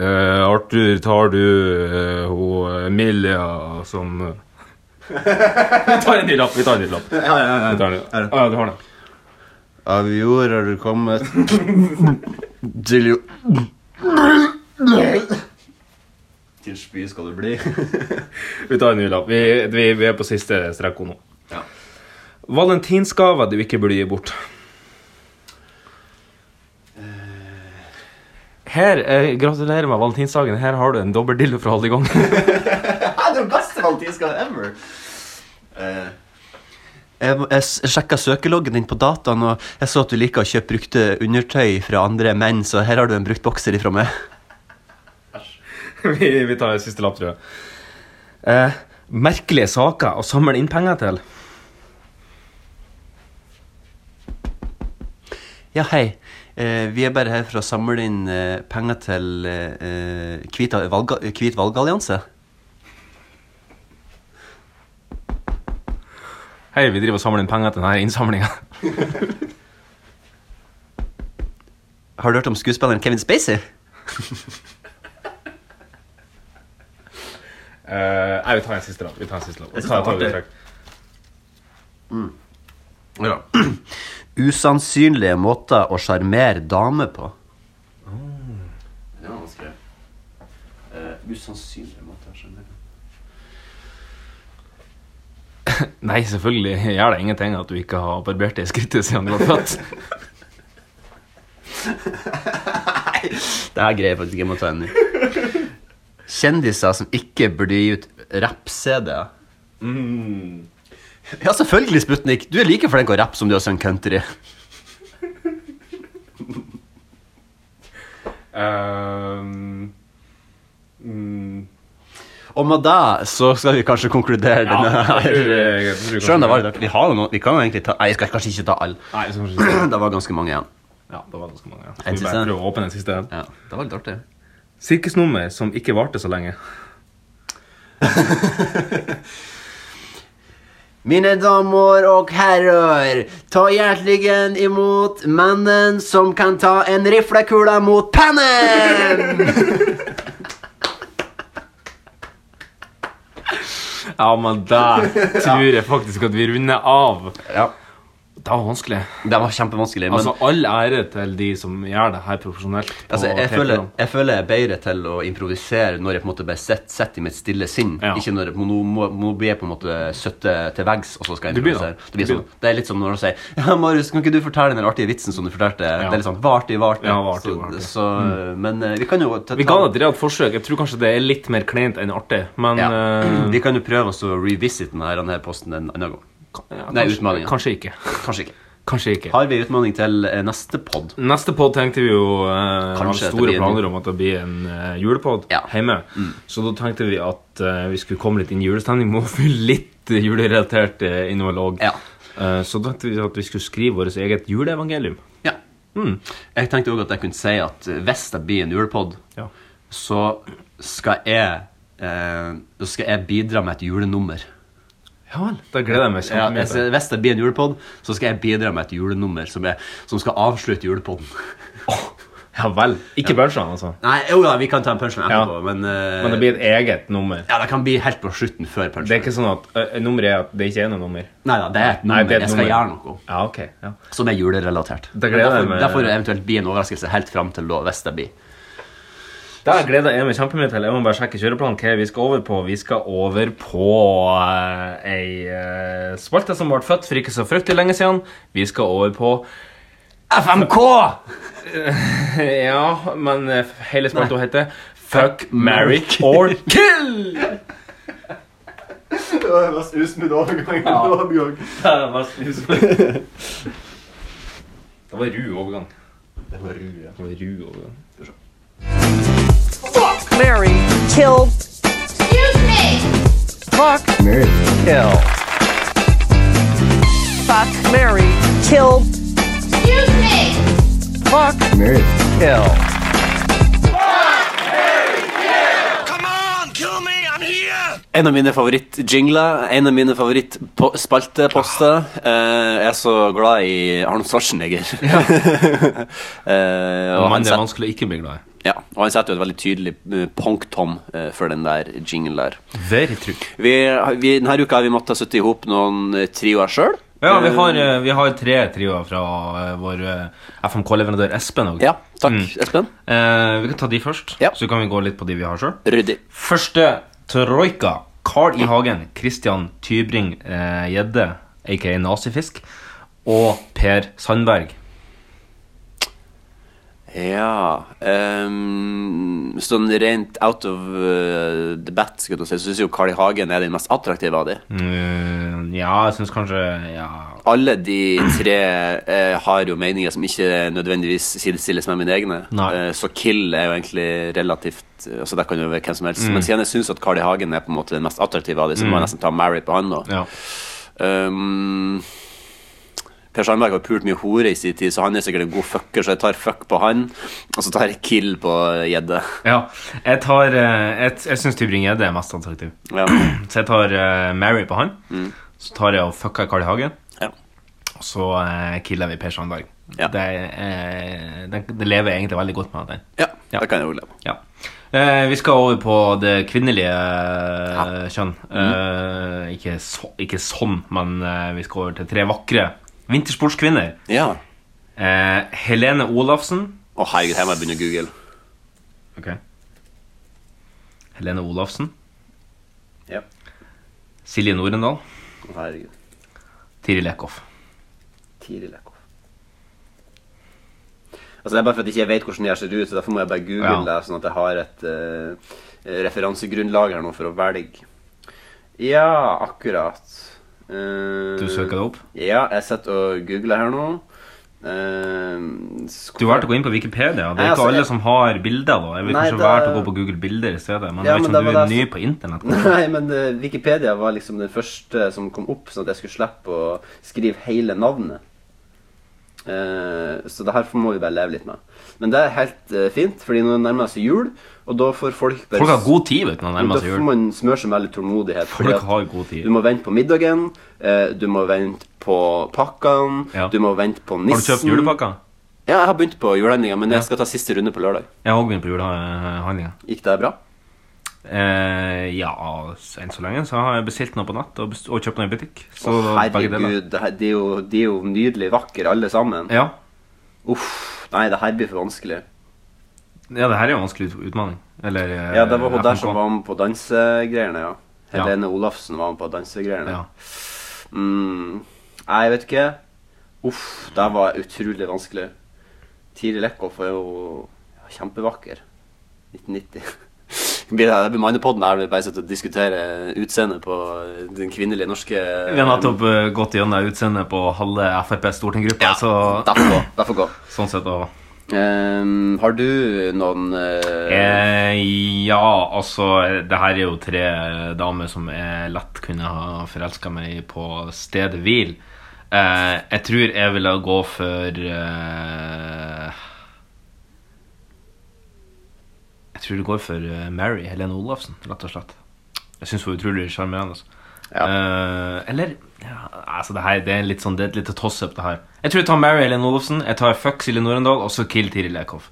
Eh, Arthur, tar du eh, hun Emilia som eh, Vi tar en ny lapp. Vi tar en ny lapp. Vi tar en ny. lapp. Ah, ja, du har den. Av jord har du kommet Til jo Til spy skal du bli. Vi tar en ny lapp. Vi, vi, vi er på siste strekko nå. Valentinsgave du ikke burde gi bort. Her, eh, Gratulerer med valentinsdagen. Her har du en dobbel dildo for å holde i gang. er den beste valentinsgaven ever! Eh, Jeg, jeg s- sjekka søkeloggen din på dataen, og jeg så at du liker å kjøpe brukte undertøy fra andre menn, så her har du en brukt bokser ifra meg. vi, vi tar en siste lapp, tror jeg. Eh, merkelige saker å samle inn penger til. Ja, hei. Eh, vi er bare her for å samle inn eh, penger til eh, eh, Hvit valg, hvit valgallianse. Hei, vi driver og samler inn penger til denne innsamlinga. Har du hørt om skuespilleren Kevin Spacey? Eh, nei, vi tar en siste lapp. Vi tar en siste lapp. synes det var Ta- Mm. ta- artig. Ja. Usannsynlige måter å sjarmere damer på. det var vanskelig. Eh, usannsynlig måte å skjønne det. Nei, selvfølgelig gjør det ingenting at du ikke har barbert deg i skrittet siden du ble født. Det her greier jeg faktisk ikke jeg må ta en ny. Kjendiser som ikke burde gi ut rapp-CD-er. Mm. Ja, selvfølgelig, Sputnik. Du er like flink å rappe som du har sunget country. Ehm, mm, Og med det så skal vi kanskje konkludere denne her. jeg tror kanskje- Selv om det var litt artig. Vi har jo noe, vi kan jo egentlig ta Nei, jeg skal kanskje ikke ta alle. Nei, så kanskje ikke. Det var ganske mange igjen. Ja, det var ganske mange. Ja. Skal En vi siste? bare prøve å åpne den siste? Ja, det var litt artig. Sirkusnummer som ikke varte så lenge. Mine damer og herrer, ta hjertelig imot mannen som kan ta en riflekule mot pennen! Ja, men det tror jeg faktisk at vi runder av. Ja. Det var vanskelig. Det var kjempevanskelig, men Altså, All ære til de som gjør det her profesjonelt. på Altså, jeg, TV føler, program. jeg føler jeg er bedre til å improvisere når jeg på en måte bare sitter sitter i mitt stille sinn. Ja. Ikke når jeg, nå, må, nå blir jeg på en måte søtte til veggs, og så skal jeg Du blir da. improvisere. Det, blir Du blir sånn, det er litt som når de sier Ja, Marius, kan ikke du fortelle den artige vitsen som du fortalte? Det er litt sånn Varte i varte. Ja, var artig, så, var artig. så, Men eh, vi kan jo ta, Mm. Vi ga det et realt forsøk. Jeg tror kanskje det er litt mer kleint enn artig, men ja. eh, Vi kan jo prøve oss å revisit denne, denne posten en annen gang. ja, Nei, kanskje- utmaningen. Kanskje ikke. Kanskje ikke. Kanskje ikke. Har vi utfordring til eh, neste pod? Neste pod tenkte vi jo eh, har Kanskje det store blir en- planer om at det blir en eh, julepod Ja. Mm. hjemme. Så da tenkte vi at eh, vi skulle komme litt inn i julestemning med å fylle litt eh, julerelatert eh, innhold òg. Ja. Eh, så da tenkte vi at vi skulle skrive vårt eget juleevangelium. Ja. Mm. Jeg tenkte også at jeg kunne si at eh, hvis det blir en julepod, Ja. så skal jeg eh, så skal jeg bidra med et julenummer. ja vel. Da gleder jeg meg Ja, kjempemye. jeg, til det. skal- hvis det blir en julepod, så skal jeg bidra med et julenummer som, er, som skal avslutte julepoden. ja vel. Ikke punchene, altså. Nei, jo da, vi kan ta en punchline Ja. etterpå, men, eh, Men det blir et eget nummer. Ja, det kan bli helt på slutten før Det er punchline. ikke sånn at ø, ø, nummeret er at det ikke er noe nummer. Nei da, det er et nummer. Nei, det er et jeg skal nummer. gjøre noe Ja, ok. Ja. som er julerelatert. Da gleder Men jeg derfor, meg- derfor eventuelt bli en overraskelse helt fram til da, hvis det blir. Da gleder jeg meg kjempemye til. Jeg må bare sjekke kjøreplanen. Hva er vi skal over på? Vi skal over på uh, ei eh, spalte som ble født for ikke så fryktelig lenge siden. Vi skal over på FMK! Ja, men eh, hele spalta heter Fuck, marry or kill! Det var den mest usmidde overgangen noen gang. Det var ru overgang. Det var ru, ja. Det var ru overgang. En av mine favorittjingler, en av mine favorittspalteposter. Eh, jeg er så glad i Arne Schwarzenegger. eh, og, han Men det er set, vanskelig å ikke bli glad i. ja, og han setter jo et veldig tydelig eh, punktum eh, for den der jinglen der. Very true. Vi, vi, denne uka har vi måttet sitte i hop noen eh, trioer sjøl. Ja, vi har, eh, vi har tre trioer fra eh, vår eh, FMK-leverandør Espen òg. Ja, takk, Mm. Espen. Eh, vi kan ta de først, Ja. så kan vi gå litt på de vi har sjøl. Ryddig. Første troika. Carl I. Hagen, Christian Tybring eh, Gjedde, aka Nazifisk, og Per Sandberg. Ja ehm, Sånn rent out of uh, the bat, skulle jeg si, så syns jo Carl I. Hagen er den mest attraktive av de. Mm, ja, jeg syns kanskje Ja. Alle de tre eh, har jo meninger som ikke nødvendigvis sidestilles med mine egne. Nei. Eh, så Kill er jo egentlig relativt Altså Der kan jo være hvem som Mm. helst. Men siden jeg syns at Carl I. Hagen er på en måte den mest attraktive av de, så må jeg nesten ta Mary på han nå. ja. Ehm, per Sandberg har pult mye hore i sin tid, så han er sikkert en god fucker, så jeg tar fuck på han, og så tar jeg kill på gjedde. ja. Jeg tar eh, Jeg, jeg syns Tybring-Gjedde er mest attraktiv. Ja. Så jeg tar eh, Mary på han. Mm. Så tar jeg og fucker Carl I. Hagen. Ja. Og så eh, killer vi Per Sandberg. Ja. Det, eh, det, det lever jeg egentlig veldig godt med. Den. ja, Ja. det kan jeg jo leve med. Ja. Eh, vi skal over på det kvinnelige eh, kjønn. Eh, ikke, så, ikke sånn, men eh, vi skal over til tre vakre vintersportskvinner. Ja. Eh, Helene Olafsen. Å, herregud, her må jeg begynne å google. Ok Helene Olafsen. Ja. Silje Norendal. Å, herregud. Tiril Eckhoff. Tiril Eckhoff. Altså, det er bare for at jeg ikke vet hvordan de her ser ut, så derfor må jeg bare google Ja. det, sånn at jeg har et eh, referansegrunnlag her nå for å velge. Ja, akkurat. Eh, Du søker det opp? Ja, jeg sitter og googler her nå. Eh, sk- Du valgte å gå inn på Wikipedia. Det Nei, er altså, ikke alle jeg- som har bilder. da Jeg vil Nei, kanskje det- valgt å gå på Google Bilder i stedet. Men Ja, jeg vet men ikke om det du var er ny det- på internett. Nei, men eh, Wikipedia var liksom den første som kom opp, sånn at jeg skulle slippe å skrive hele navnet. Eh, så det her må vi bare leve litt med. Men det er helt eh, fint, fordi nå nærmer det seg jul, og da får folk bare Folk har god tid vet du, når det nærmer Da seg får jul. man smøre seg med litt tålmodighet. fordi Folk at har god tid. Du må vente på middagen, eh, du må vente på pakkene, Ja. du må vente på nissen Har du kjøpt julepakker? Ja, jeg har begynt på julehandlinga, men jeg skal ta siste runde på lørdag. Jeg har også begynt på julehandlinga. Gikk det bra? Eh, ja, enn så lenge så har jeg bestilt noe på nett og, best- og kjøpt noe i butikk. Så begge deler. Herregud, det her, de, er jo, de er jo nydelig vakre alle sammen. Ja. Uff, nei, det her blir for vanskelig. ja, det her er jo en vanskelig utfordring. Eller eh, Ja, det var hun der FNK. som var med på dansegreiene, ja. Ja. Helene Olafsen var med på dansegreiene. Ja. Mm. Nei, jeg vet ikke. Uff, det var utrolig vanskelig. Tiril Eckhoff er jo kjempevakker. 1990. Det blir det blir Mannepodden her, vi bare sitter og diskuterer utseendet på den kvinnelige norske Vi har nettopp eh, gått gjennom utseendet på halve Frp-stortingsgruppa, så Derfor gå. Derfor gå. sånn sett og Ehm, har du noen eh, Eh, ja, altså Det her er jo tre damer som jeg lett kunne ha forelska meg i på stedet hvil. Eh, jeg tror jeg ville gå for eh, Jeg tror det går for eh, Mary Helene Olafsen, rett og slett. Jeg syns hun er utrolig sjarmerende. altså. Ja. Eh, eller ja, altså det, her, det er litt sånn, det er et lite toss-up, det her. Jeg tror jeg tar Mary Helene Olafsen, jeg tar fuck Silje Norendal og så kill Tiril Eckhoff.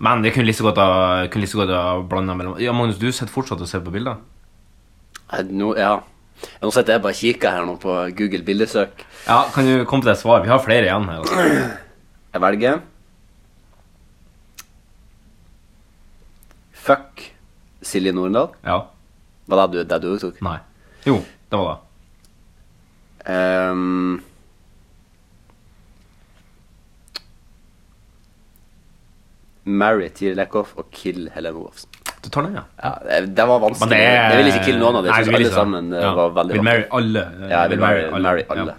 Men jeg kunne like så godt ha, kunne like så godt ha blanda mellom Ja, Magnus, du sitter fortsatt og ser på bilder? Nei, Nå, ja. Nå sitter jeg bare og kikker her nå på Google bildesøk. Ja, kan du komme til et svar? Vi har flere igjen her. Altså. Jeg velger Fuck Silje Norendal. Ja. Var det du, det du tok? Nei. Jo, det var det. Ehm, Marry Tiril Eckhoff og kill Helene Olafsen. Du tar den, ja. Ja, det, det var vanskelig. Men det er Jeg vil ikke kille noen av dem. Nei, Jeg du synes vil ikke alle det. sammen eh, Ja. var veldig Vil marry alle. eh, Ja, jeg vil marry, marry Ja. alle.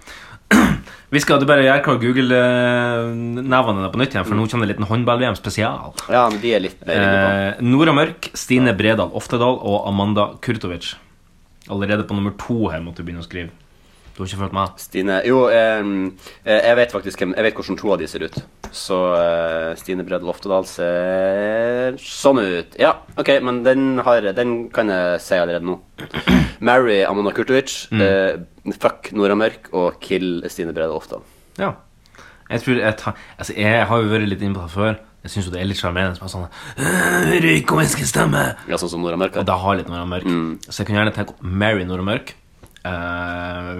Vi skal du bare gjøre klar Google-nevene dine på nytt igjen, for nå kommer det en liten håndball-VM spesial. Ja. men de Mm. er litt mer inne på. Eh, Nora Mørk, Stine Bredal Oftedal og Amanda Kurtovic. Allerede på nummer to her måtte du begynne å skrive. Du har ikke fulgt med? Stine Jo, ehm, eh, jeg vet faktisk hvem, jeg vet hvordan to av de ser ut. Så eh, Stine Bredd Loftedal ser sånn ut. Ja, OK, men den, har, den kan jeg si allerede nå. Mary Amanda Kurtovic, eh, fuck Nora Mørk og kill Stine Bredd Loftedal. Ja. Jeg tror jeg tar Altså, jeg har jo vært litt inne på det før. Jeg syns jo det er litt sjarmerende som er sånn «Øh, Røyk og menneskestemme! Ja, Mm. sånn som Nora Mørk Og har. da har litt Nora Mørk. Så jeg kunne gjerne tenke Mary Nora Mørk. Eh,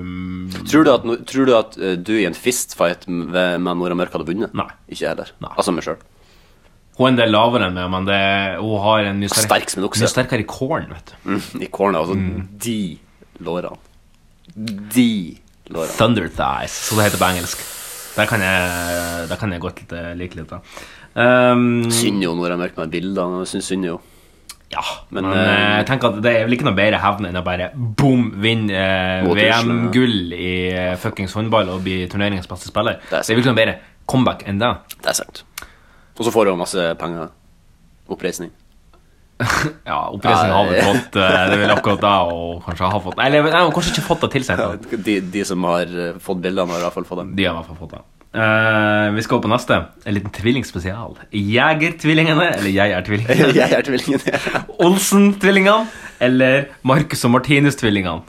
Tror du at, no- tror du, at eh, du i en fistfight med, med Nora Mørk hadde vunnet? Nei. Ikke jeg heller. Nei. Altså meg sjøl. hun er en del lavere enn meg, men det, hun har en mye sterkere, Sterk som en okse. mye sterkere corn, vet du. I corner. Altså, Mm. de lårene. De lårene. Thunder thighs, som det heter på engelsk. Der kan jeg, der kan jeg godt eh, like litt, da. Um, Synd jo når jeg merker meg bildene. Jeg synes synd jo. Ja, men, Men, eh, jeg tenker at det er vel ikke noe bedre hevn enn å bare boom, vinne eh, Mot Russland, ja. VM-gull i eh, fuckings håndball og bli turneringens beste spiller. Det er Det er vel ikke noe bedre comeback enn det. Det er sant. Og så får jeg jo masse penger. Oppreisning. Ja, oppreisning Ja, har vel det- fått eh, det er vel akkurat da, og kanskje har fått Eller jeg har kanskje ikke fått det tilsendt. da. De, de som har eh, fått bildene, har i hvert fall fått dem. De har i hvert fall fått det. Eh, vi skal over på neste. En liten tvillingspesial. Jegertvillingene, eller Jeg er tvillingen. Jeg er tvillingen. Eh, Olsen-tvillingene, eller Marcus og Martinus-tvillingene.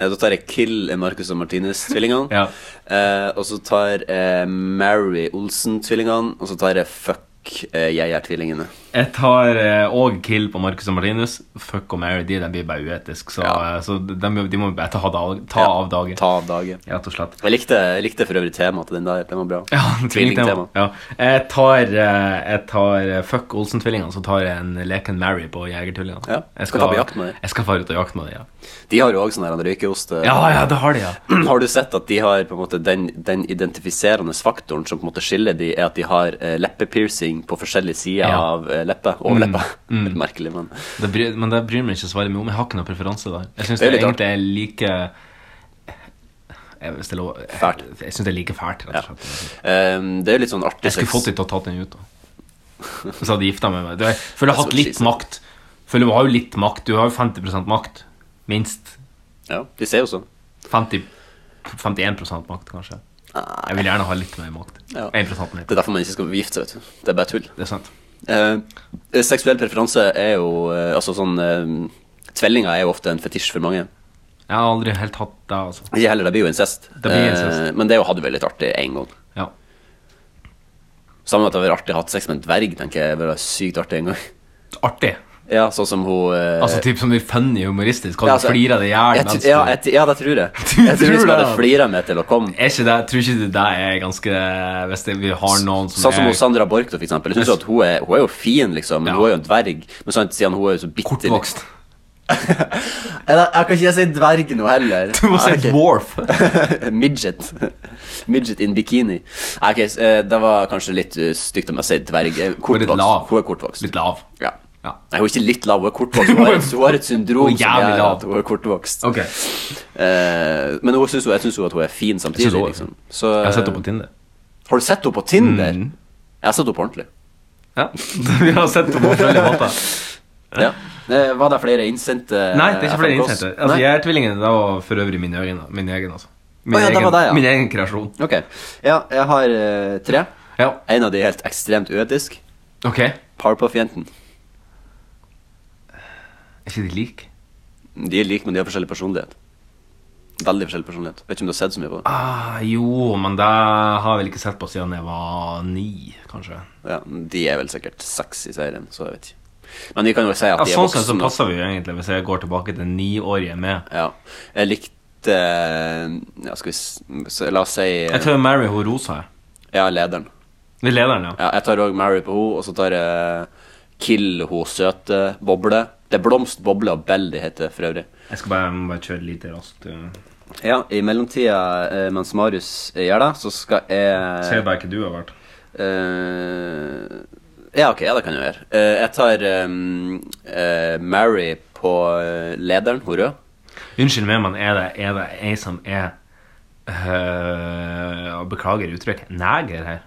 Eh, Da tar jeg Kill Marcus og Martinus-tvillingene. Ja. Eh, og så tar jeg Mary Olsen-tvillingene. Og så tar jeg Fuck eh, Jeg er tvillingene. Jeg tar òg kill på Marcus og Martinus. Fuck og marry de, de blir bare uetiske. Så, Ja. eh, så de, de må vi bare ta, dag, ta Ja, av dagen. Ta av dage. Rett og slett. Jeg likte, jeg likte for øvrig temaet til den der. Den var bra. Ja, tvillingtema. Ja. Jeg tar, eh, jeg tar eh, fuck Olsen-tvillingene, så tar jeg en leken Mary på Jegertvillingene. Ja, Jeg skal ta på jakt med dem. Jeg skal fare ut og jakte med dem, ja. De har jo òg sånn der røykeost. eh, Ja, ja, det har de, ja. Har du sett at de har på en måte den, den identifiserende faktoren som på en måte skiller de, er at de har eh, leppepiercing på forskjellige sider Ja. Mm. av eh, leppa? Overleppa. Litt merkelig, men Det bryr, men det bryr meg ikke så veldig mye om. Jeg har ikke noen preferanse der. Jeg syns Det det, er litt egentlig er like jeg, hvis det er lov, Fælt. Jeg, jeg syns det er like fælt, rett og slett. ehm, det er jo litt sånn artig Jeg skulle fått dem til å ta den ut, da. Så hadde de gifta meg med meg. Du, Jeg føler jeg har hatt That's what she litt said. makt. Føler Du har jo litt makt. Du har jo 50 makt. Minst. Ja, de ser jo sånn. 50, 51 makt, kanskje. Jeg vil gjerne ha litt mer makt. Ja. 1 mer. Det er derfor man ikke skal gifte seg, vet du. Det er bare tull. Det er sant. Eh, seksuell preferanse er jo eh, Altså sånn eh, Tvellinger er jo ofte en fetisj for mange. Jeg har aldri helt hatt det, altså. Ikke heller, det blir jo incest. Det blir incest. Eh, men det er jo- hadde vært litt artig én gang. Ja. Samme med at det hadde vært artig å ha sex med en dverg, tenker jeg. Det hadde vært sykt artig en gang. Artig. Ja, sånn som hun eh, Altså typ som de funny humoristisk. Kan du Ja, altså, flire deg i hjel jeg, mens tr- du ja, jeg, tr- ja, det tror jeg. Jeg tror tror liksom det, at altså. jeg flirer meg til å komme. er ikke det, jeg tror ikke det der er ganske Hvis det, vi har noen som Sånn som hun er Sandra Borch, da, for eksempel. Jeg synes jo at hun er, hun er jo fin, liksom, men Ja. hun er jo en dverg. Men sånn, siden hun er jo så bitter kortvokst Eller, Jeg kan ikke si dverg nå heller. Du må si Nei, ok. dwarf. Midget. Midget in bikini. Nei, ok, så, eh, det var kanskje litt eh, stygt om jeg sier dverg. Eh, Hun er litt lav. Kortvokst. Hun er kortvokst. Litt lav. Ja. Ja. Nei, hun er ikke litt lav, hun er kortvokst. Hun har et, hun har et syndrom Hun er som jævlig gjør lav. at hun er kortvokst. Ok. Eh, men hun synes jo, jeg syns jo at hun er fin samtidig, Jeg synes hun er liksom. Så, Jeg har sett henne på Tinder. Mm. Har du sett henne på Tinder? Jeg har sett henne på ordentlig. Ja, Vi har sett henne på forskjellige måter. Ja. Eh, Var det flere innsendte Nei, det er ikke flere FMKs? innsendte. Altså, Nei? jeg er tvillingen. Det var for øvrig min egen. Min egen, altså. min, Å, ja, det egen var deg, ja. min egen kreasjon. Ok. Ja, jeg har eh, tre. Ja, En av de er helt ekstremt uetisk. ok. Er Powerpuff-jenten. ikke de like? De er like, men de har forskjellig personlighet. Veldig forskjellig personlighet. Vet ikke om du har sett så mye på det. Ah, jo, men det har jeg vel ikke sett på siden jeg var ni, kanskje. Ja, de er vel sikkert seks i serien, så jeg vet ikke. Men vi kan jo si at Ja, de er sånn sett så voksne. passer vi jo egentlig, hvis jeg går tilbake til niårige med. Ja. Jeg likte eh, Ja, skal vi s- så La oss si eh, Jeg tror Mary hun rosa. jeg. Ja, lederen. Det er lederen, ja. Ja, jeg tar òg Mary på henne, og så tar jeg Kill ho søte boble. Det er Blomst, boble og Bell de heter for øvrig. Jeg skal bare, jeg må bare kjøre litt raskt. Eh, ja. Ja, I mellomtida eh, mens Marius gjør det, så skal Ser jeg bare ikke du har vært. eh, Ja, ok, ja, det kan jeg gjøre. Eh, jeg tar eh, eh, Mary på eh, lederen, hun rød. Unnskyld meg, men er det, er det ei som er øh, og Beklager uttrykket. Neger her.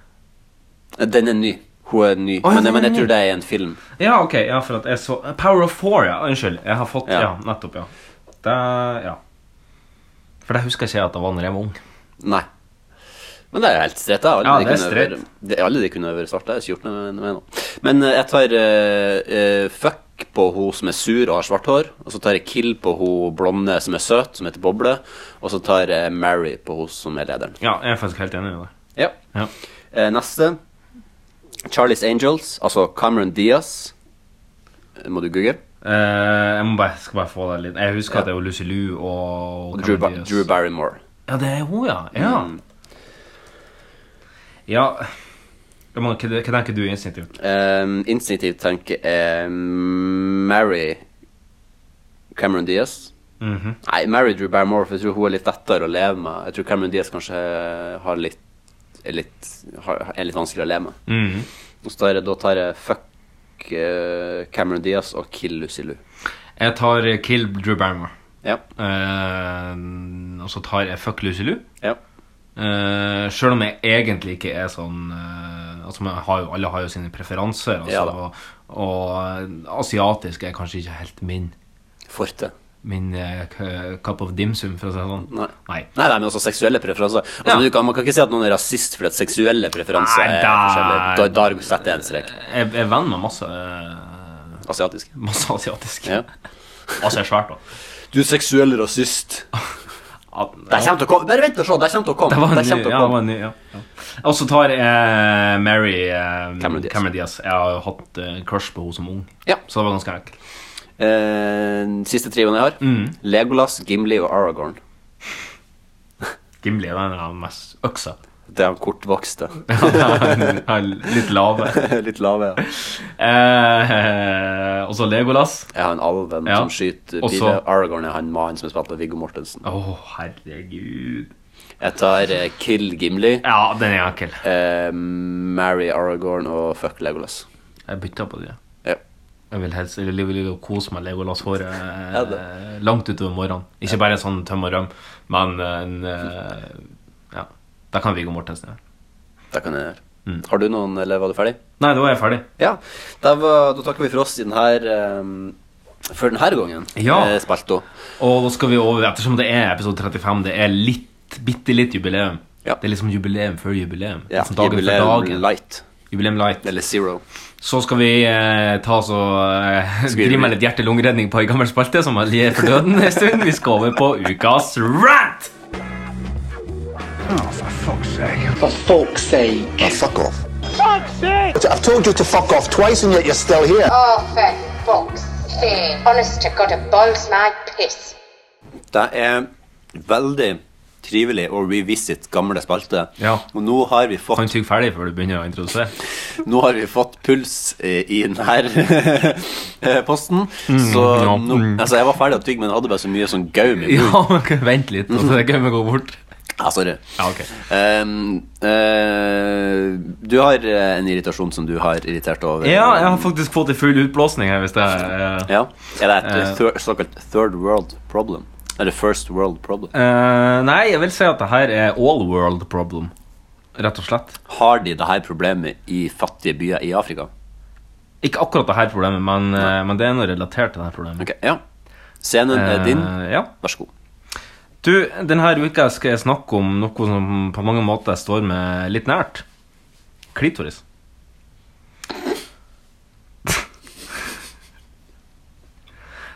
Den er ny. Hun er ny. Å, ja, men, den er men jeg ny. tror det er i en film. Ja, ok. Ja, for at jeg så Power of Four, ja. Unnskyld. Jeg har fått Ja, Ja. nettopp, ja. Det Ja. For det husker jeg ikke at det var når jeg var ung. Nei. Men det er jo helt streit. da. Alle Ja, de det er kunne streit. vært- de- alle de kunne vært svarte. Jeg har ikke gjort noe med noe. Men eh, jeg tar eh, eh, fuck på hun som er sur og har svart hår. Og så tar jeg kill på hun blonde som er søt, som heter Boble. Og så tar jeg Mary på hun som er lederen. Ja, jeg er faktisk helt enig i det. Ja. Ja. Eh, neste. Charlies Angels, altså Cameron Diaz. Eh, Må du google? Eh, jeg må bare, skal bare få det litt Jeg husker Ja. at det var Lucy Liu og, Og Drew, ba Cameron Diaz. Drew Barrymore. Ja, det er hun, ja. Ja. ja. Det må, hva, hva tenker du instinktivt? Um, instinktiv tanke er Mary Cameron Diaz. Mhm. Nei, Mary Drew Barrymore, for jeg tror hun er litt lettere å leve med. Jeg tror Cameron Diaz kanskje har litt er litt, har- er litt vanskelig å le med. Mhm. Og så tar jeg, da tar jeg fuck eh, Cameron Diaz og kill Lucy Liu. Jeg tar eh, Kill Drew Barrymore. Ja. Eh, og så tar jeg Fuck Lucy Liu. Ja. Uh, Sjøl om jeg egentlig ikke er sånn eh, Altså, man har jo, Alle har jo sine preferanser. Altså, Ja da. og, og eh, asiatisk er kanskje ikke helt min Forte. Min eh, k- cup of dimsum, for å si det sånn. Nei. Nei. Nei, nei, men også seksuelle preferanser. Altså, Ja. du kan, man kan ikke si at noen er rasist fordi at seksuelle preferanser Nei, er da- forskjellige. Da, da setter jeg en strek. Jeg, jeg er venn med masse eh, Asiatisk. Masse asiatisk. Ja. Altså, jeg er svært, da. Du er seksuell rasist. At- Det kommer til å komme. Bare vent og se, det kommer til å komme. Det var en ny, kommer til å ja, det var komme. en ny, ja. ja. Og så tar jeg Mary eh, Cameron Diaz. Cameron Diaz. Jeg har jo hatt eh, crush på henne som ung, Ja. så det var ganske enkelt. Eh, siste trioen jeg har. Mm. Legolas, Gimli og Aragorn. Gimli er den av de mest øksa. Det er han kortvokste. Han er Litt lave. Litt lave. ja. Eh, og så Legolas. Jeg har en alven Ja. som skyter Og så- biler. Aragorn er han mannen som er spilt av Viggo Mortensen. Å, herregud. Jeg tar eh, Kill Gimli, Ja, den er enkel. eh, Marry Aragorn og Fuck Legolas. Jeg bytter på det. Ja. Jeg vil helst jeg vil, jeg vil jo kose meg Legolas-håret eh, Ja, det- langt utover morgenen. Ikke bare sånn tøm og røm, men eh, en eh, Ja. Da kan Viggo Mortensen gjøre Det kan jeg gjøre. Mm. Har du noen, eller var du ferdig? Nei, da er jeg ferdig. Ja, da, var, da takker vi for oss i den her ehm, For den her gangen Ja. eh, Spalto Og da skal vi over, ettersom det er episode 35, det er litt, bitte litt jubileum. Ja. Det er liksom jubileum før jubileum. ja. Liksom dagen Jubileum før dagen. Light Jubileum light. Eller Zero Så skal vi eh, ta så, eh, Skal vi- drive med litt hjerte-lungeredning på ei gammel spalte som har ligget for døden en stund. Vi skal over på ukas rant! For folk's sake. Now fuck off. Fuck's sake! I've told you to fuck off twice and yet you're still here. Oh, for fuck's sake. Honest to God, it boils my piss. Det er veldig trivelig å revisit gamle spalte Ja. Og nå har vi Kan fått, tygge ferdig før du begynner å introdusere. nå har vi fått puls eh, i den her eh, posten Mm, Så ja, nå, altså, jeg var ferdig å tygge, men jeg hadde bare så mye sånn gaum i munnen Ja, men kan- vent litt, altså, og så kan vi gå bort. Ja, sorry Ja, ok. Ehm, eh, Du har eh, en irritasjon som du har irritert over Ja, jeg har faktisk fått en full utblåsning her, hvis det er eh, Ja. Er det et Eh. thir såkalt third world problem? Eller first world problem? Eh, nei, jeg vil si at det her er all world problem. Rett og slett. Har de det her problemet i fattige byer i Afrika? Ikke akkurat det her problemet, men, eh, men det er noe relatert til det her problemet. Ok, ja. Scenen er Eh, din. ja. Vær så god. Du, denne uka skal jeg snakke om noe som på mange måter står meg litt nært. Klitoris.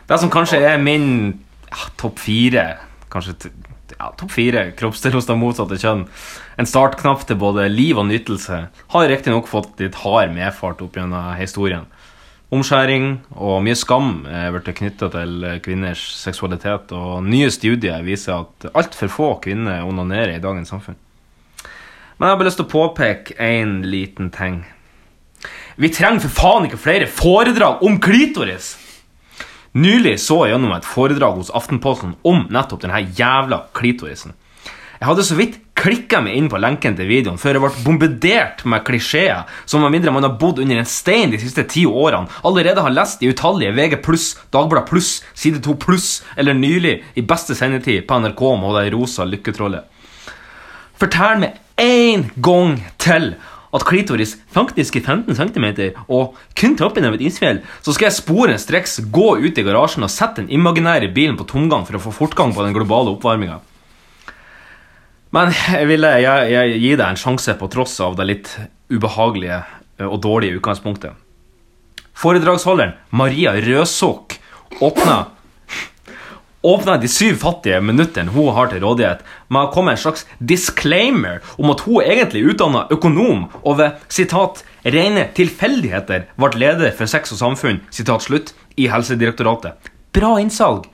Det som kanskje er min ja, topp fire Kanskje t- ja, topp fire kroppsdel hos det motsatte kjønn. En startknapp til både liv og nytelse. Har riktignok fått litt hard medfart opp gjennom historien. Omskjæring og mye skam er blitt knytta til kvinners seksualitet, og nye studier viser at altfor få kvinner onanerer i dagens samfunn. Men jeg har bare lyst til å påpeke én liten ting. Vi trenger for faen ikke flere foredrag om klitoris! Nylig så jeg gjennom et foredrag hos Aftenposten om nettopp denne jævla klitorisen. Jeg hadde så vidt klikka meg inn på lenken til videoen før jeg ble bombardert med klisjeer som med mindre man har bodd under en stein de siste ti årene, allerede har lest i utallige VG pluss, Dagbladet pluss, Side 2 pluss eller nylig i beste sendetid på NRK med det rosa lykketrollet. Fortell meg én gang til at klitoris faktisk er 15 cm og kun toppen av et isfjell, så skal jeg sporenstreks gå ut i garasjen og sette den imaginære bilen på tomgang for å få fortgang på den globale oppvarminga. Men jeg ville jeg, jeg gi deg en sjanse på tross av det litt ubehagelige eh, og dårlige utgangspunktet. Foredragsholderen Maria Røsåk åpna åpna de syv fattige minuttene hun har til rådighet, med å komme med en slags disclaimer om at hun egentlig er utdanna økonom og ved sitat, 'rene tilfeldigheter' ble leder for Sex og samfunn sitat slutt, i Helsedirektoratet. Bra innsalg!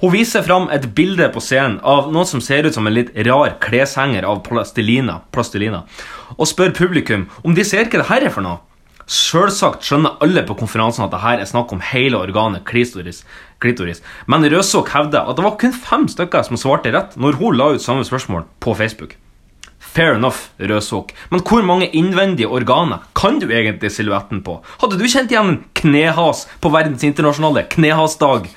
Hun viser fram et bilde på scenen av noe som ser ut som en litt rar kleshenger av plastelina, plastelina og spør publikum om de ser hva det her er for noe. Selvsagt skjønner alle på konferansen at det her er snakk om hele organet klitoris, klitoris. men Røsåk hevder at det var kun fem stykker som svarte rett når hun la ut samme spørsmål på Facebook. Fair enough, rødsokk. Men hvor mange innvendige organer kan du egentlig silhuetten på? Hadde du kjent igjen en knehas på verdens internasjonale knehasdag?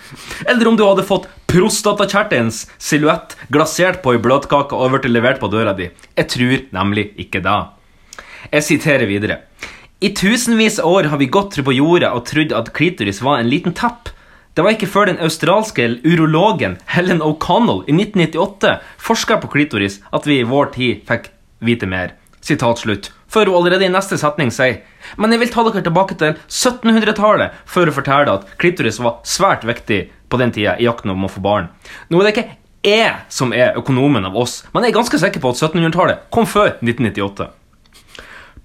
Eller om du hadde fått prostatakjertelens silhuett glasert på ei bløtkake og vært levert på døra di? Jeg tror nemlig ikke det. Jeg siterer videre. I tusenvis av år har vi gått på jorda og trodd at klitoris var en liten tapp. Det var ikke før den australske urologen Helen O'Connell i 1998 forska på klitoris at vi i vår tid fikk vite mer. Sitat slutt. Før hun allerede i neste setning sier Men jeg vil ta dere tilbake til 1700-tallet før hun forteller at klitoris var svært viktig på den tida i jakten om å få barn. Nå er det ikke jeg som er økonomen av oss, men jeg er ganske sikker på at 1700-tallet kom før 1998.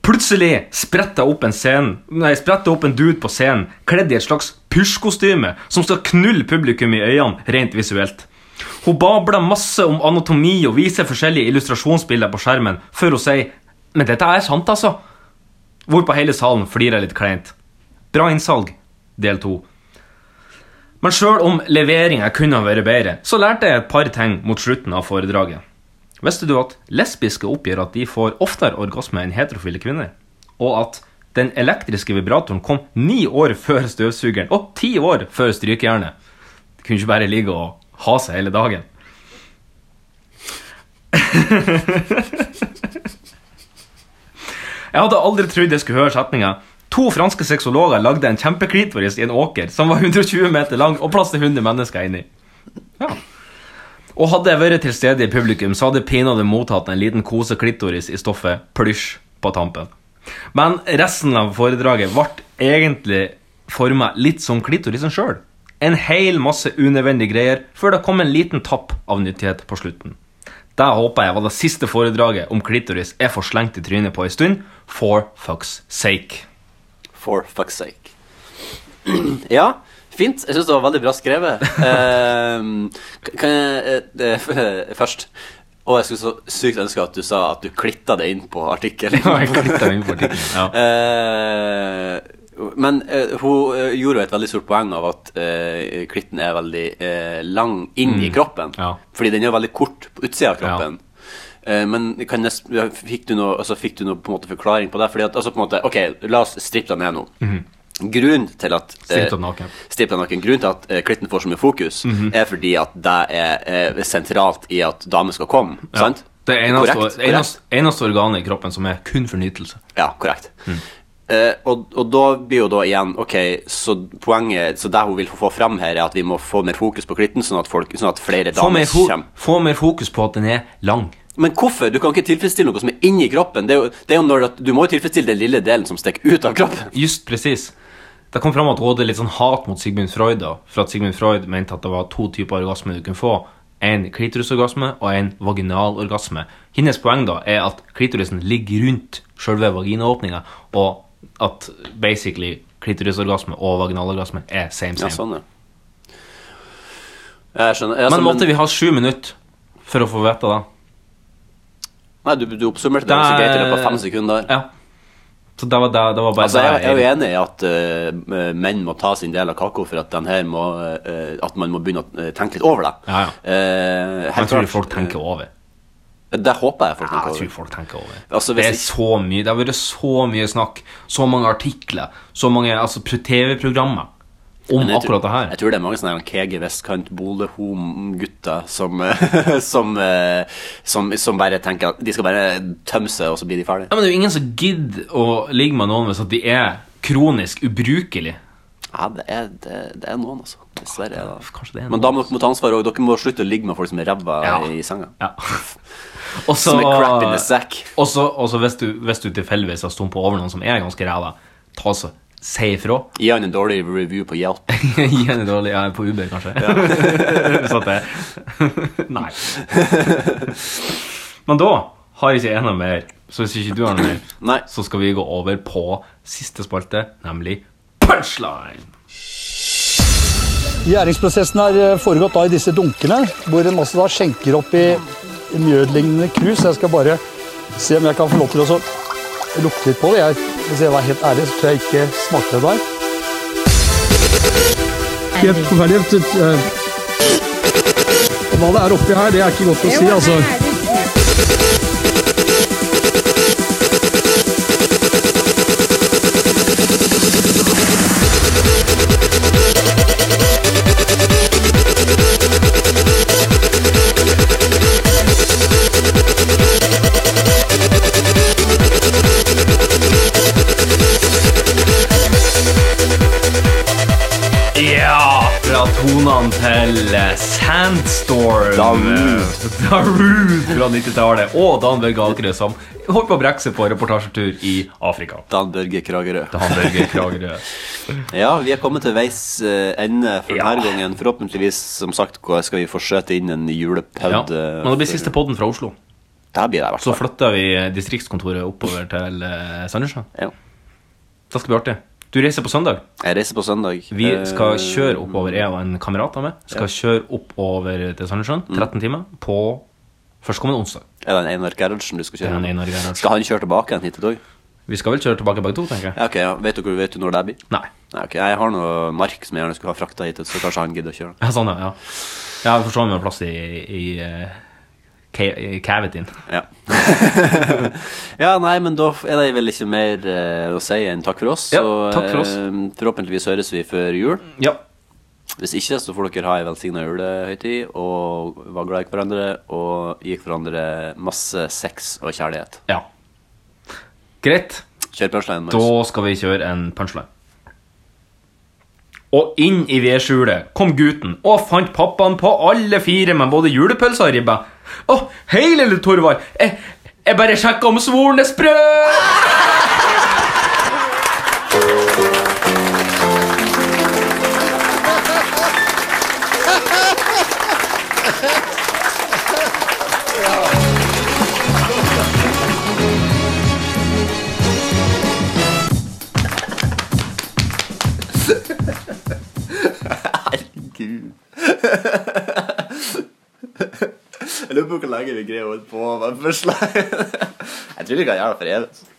Plutselig spretter opp en scene, nei, spretter opp en dude på scenen kledd i et slags pysjkostyme som skal knulle publikum i øynene rent visuelt. Hun babler masse om anatomi og viser forskjellige illustrasjonsbilder på skjermen før hun sier 'Men dette er sant, altså', hvorpå hele salen flirer litt kleint. Bra innsalg, del to. Men sjøl om leveringa kunne ha vært bedre, så lærte jeg et par ting mot slutten av foredraget. Visste du at lesbiske oppgir at de får oftere orgasme enn heterofile kvinner? Og at den elektriske vibratoren kom ni år før støvsugeren og ti år før strykejernet? De kunne ikke bare ligge og ha seg hele dagen. jeg hadde aldri trodd jeg skulle høre setninga. To franske sexologer lagde en kjempeklitoris i en åker som var 120 meter lang og plass til 100 mennesker inni. Ja. Og hadde jeg vært til stede i publikum, så hadde jeg pinadø mottatt en liten koseklitoris i stoffet plysj på tampen. Men resten av foredraget ble egentlig for meg litt som klitorisen sjøl. En hel masse unødvendige greier før det kom en liten tapp av nyttighet på slutten. Det håper jeg var det siste foredraget om klitoris jeg får slengt i trynet på ei stund, for fucks sake. For fucks sake. ja, Fint. Jeg syns det var veldig bra skrevet. Eh, kan jeg eh, eh, Først Og jeg skulle så sykt ønske at du sa at du klitta det inn på artikkelen. Ja, jeg klitta inn på artikkelen, ja. Eh, men eh, hun gjorde jo et veldig stort poeng av at eh, klitten er veldig eh, lang inn i kroppen. Mm. Ja. Fordi den er veldig kort på utsida av kroppen. Eh, Men kan jeg, sp- fikk du noe, altså fikk du noe på en måte forklaring på det? Fordi at, altså på en måte, ok, La oss strippe deg ned nå. Grunnen til at Mhm. eh, Stripp deg naken. stripp deg naken. Grunnen til at eh, klitten får så mye fokus, Mhm. er fordi at det er eh, sentralt i at damer skal komme. Sant? Det eneste, Korrekt, eneste, eneste organet i kroppen som er kun for nytelse. Ja, korrekt. Eh, og, og da blir jo da igjen Ok, så poenget Så det hun vil få fram her, er at vi må få mer fokus på klitten, sånn at, folk, sånn at flere Få mer, damer fo kommer. få mer fokus på at den er lang. Men hvorfor? Du kan ikke tilfredsstille noe som er inni kroppen. Det er jo, det er jo når at, Du må jo tilfredsstille den lille delen som stikker ut av kroppen. Just presis. Det kom fram at hun hadde litt sånn hat mot Sigmund Freud, da, for at Sigmund Freud mente at det var to typer orgasme du kunne få. En klitorisorgasme og en vaginal orgasme. Hennes poeng da er at klitorisen ligger rundt selve vaginaåpninga, og at basically klitorisorgasme og vaginalorgasme er same Ja, same. sånn, ja. Jeg skjønner. Altså, men måtte vi ha sju minutter for å få vite det? Nei, du, du oppsummerte det ganske greit i løpet av fem sekunder. Ja. Så det var, det, det var bare Altså, jeg, det jeg er jo enig i at eh, menn må ta sin del av kaka for at, den her må, eh, at man må begynne å eh, tenke litt over det. Ja, ja. Eh, helt Jeg tror klart. folk tenker over. Det håper jeg folk Ja, tenker jeg over. tror folk tenker over det. Altså, det hvis er så mye, det har vært så mye snakk, så mange artikler, så mange altså, pro- TV-programmer om Men jeg tror- akkurat det her. Jeg tror det er mange sånne her KG vestkant bolehom-gutter som, eh, som, eh, som, som bare tenker at de skal bare tømme seg, og så blir de ferdige. Ja, men det er jo ingen som gidder å ligge med noen hvis at de er kronisk ubrukelige. Ja, det er, det, det er noen, altså. Dessverre. er det- Kanskje det er Men noe. da må dere må ta ansvar òg. Dere må slutte å ligge med folk som er ræva Ja. i senga. Ja. Og så- Som er crap in the sack. Og så og så hvis du, hvis du tilfeldigvis har stumpa over noen som er ganske ræva, ta så si ifra. Gi han en dårlig review på Hjelp. Gi henne dårlig ja, på Uber, kanskje. så at det Nei. Men da har ikke jeg noe mer. Så hvis ikke du har noe mer, Nei. så skal vi gå over på siste spalte, nemlig punchline. Gjæringsprosessen har eh, foregått da i disse dunkene, hvor en masse da skjenker opp i i mjødlignende krus. Jeg skal bare se om jeg kan få lov til å så lukte litt på det. Jeg, hvis jeg var helt ærlig, så tror jeg ikke smakte det der. Helt forferdelig. Hva det er oppi her, det er ikke godt å si, altså. fra tonene til eh, Sandstorm. Darude. Darude fra 90-tallet. Og Dan Børge Akerø, som holdt på å brekke seg på reportasjetur i Afrika. Dan Børge Kragerø. Dan Børge Kragerø. Ja, vi er kommet til veis eh, ende for denne gangen. Forhåpentligvis som sagt, går- skal vi forsøke inn en Ja. julepod. eh, Men det blir for- siste podden fra Oslo. Der blir det i hvert Så fall. flytter vi distriktskontoret oppover til eh, Sandnessjø. Ja. Da skal vi artig. Du reiser på søndag. Jeg reiser på søndag. Vi skal Eh, kjøre oppover, jeg og en kamerat av meg skal kjøre oppover til Sandnessjøen Mm. 13 timer på førstkommende onsdag. Er det en Einar Gerhardsen du skal Det er kjøre? en Einar Gerhardsen. Skal han kjøre tilbake igjen hit i dag? Vi skal vel kjøre tilbake begge to, tenker jeg. Ja, ok, ja. Vet, du, vet du når det blir? Nei. Nei, ok, Jeg har noe mark som jeg gjerne skulle ha frakta hit, så kanskje han gidder å kjøre. Ja, sånn, ja. ja. Ja, vi får se om vi har plass i, i, eh, ca- i cavitin. Ja. ja, nei, men da er det vel ikke mer eh, å si enn takk for oss. Ja, og, takk for oss. eh, forhåpentligvis høres vi før jul. Ja. Hvis ikke, så får dere ha ei velsigna julehøytid og var glad i hverandre og gikk hverandre masse sex og kjærlighet. Ja. Greit. Kjør punchlinen Da vår. skal vi kjøre en punchline. Og inn i vedskjulet kom gutten og fant pappaen på alle fire med både julepølse og ribbe. Å, hei, lille Torvald. Jeg, jeg bare sjekka om svoren er sprø! Herregud. Jeg lurer på hvor lenge vi greier å holde på med punchlinen. Jeg tror vi kan gjøre det for evig.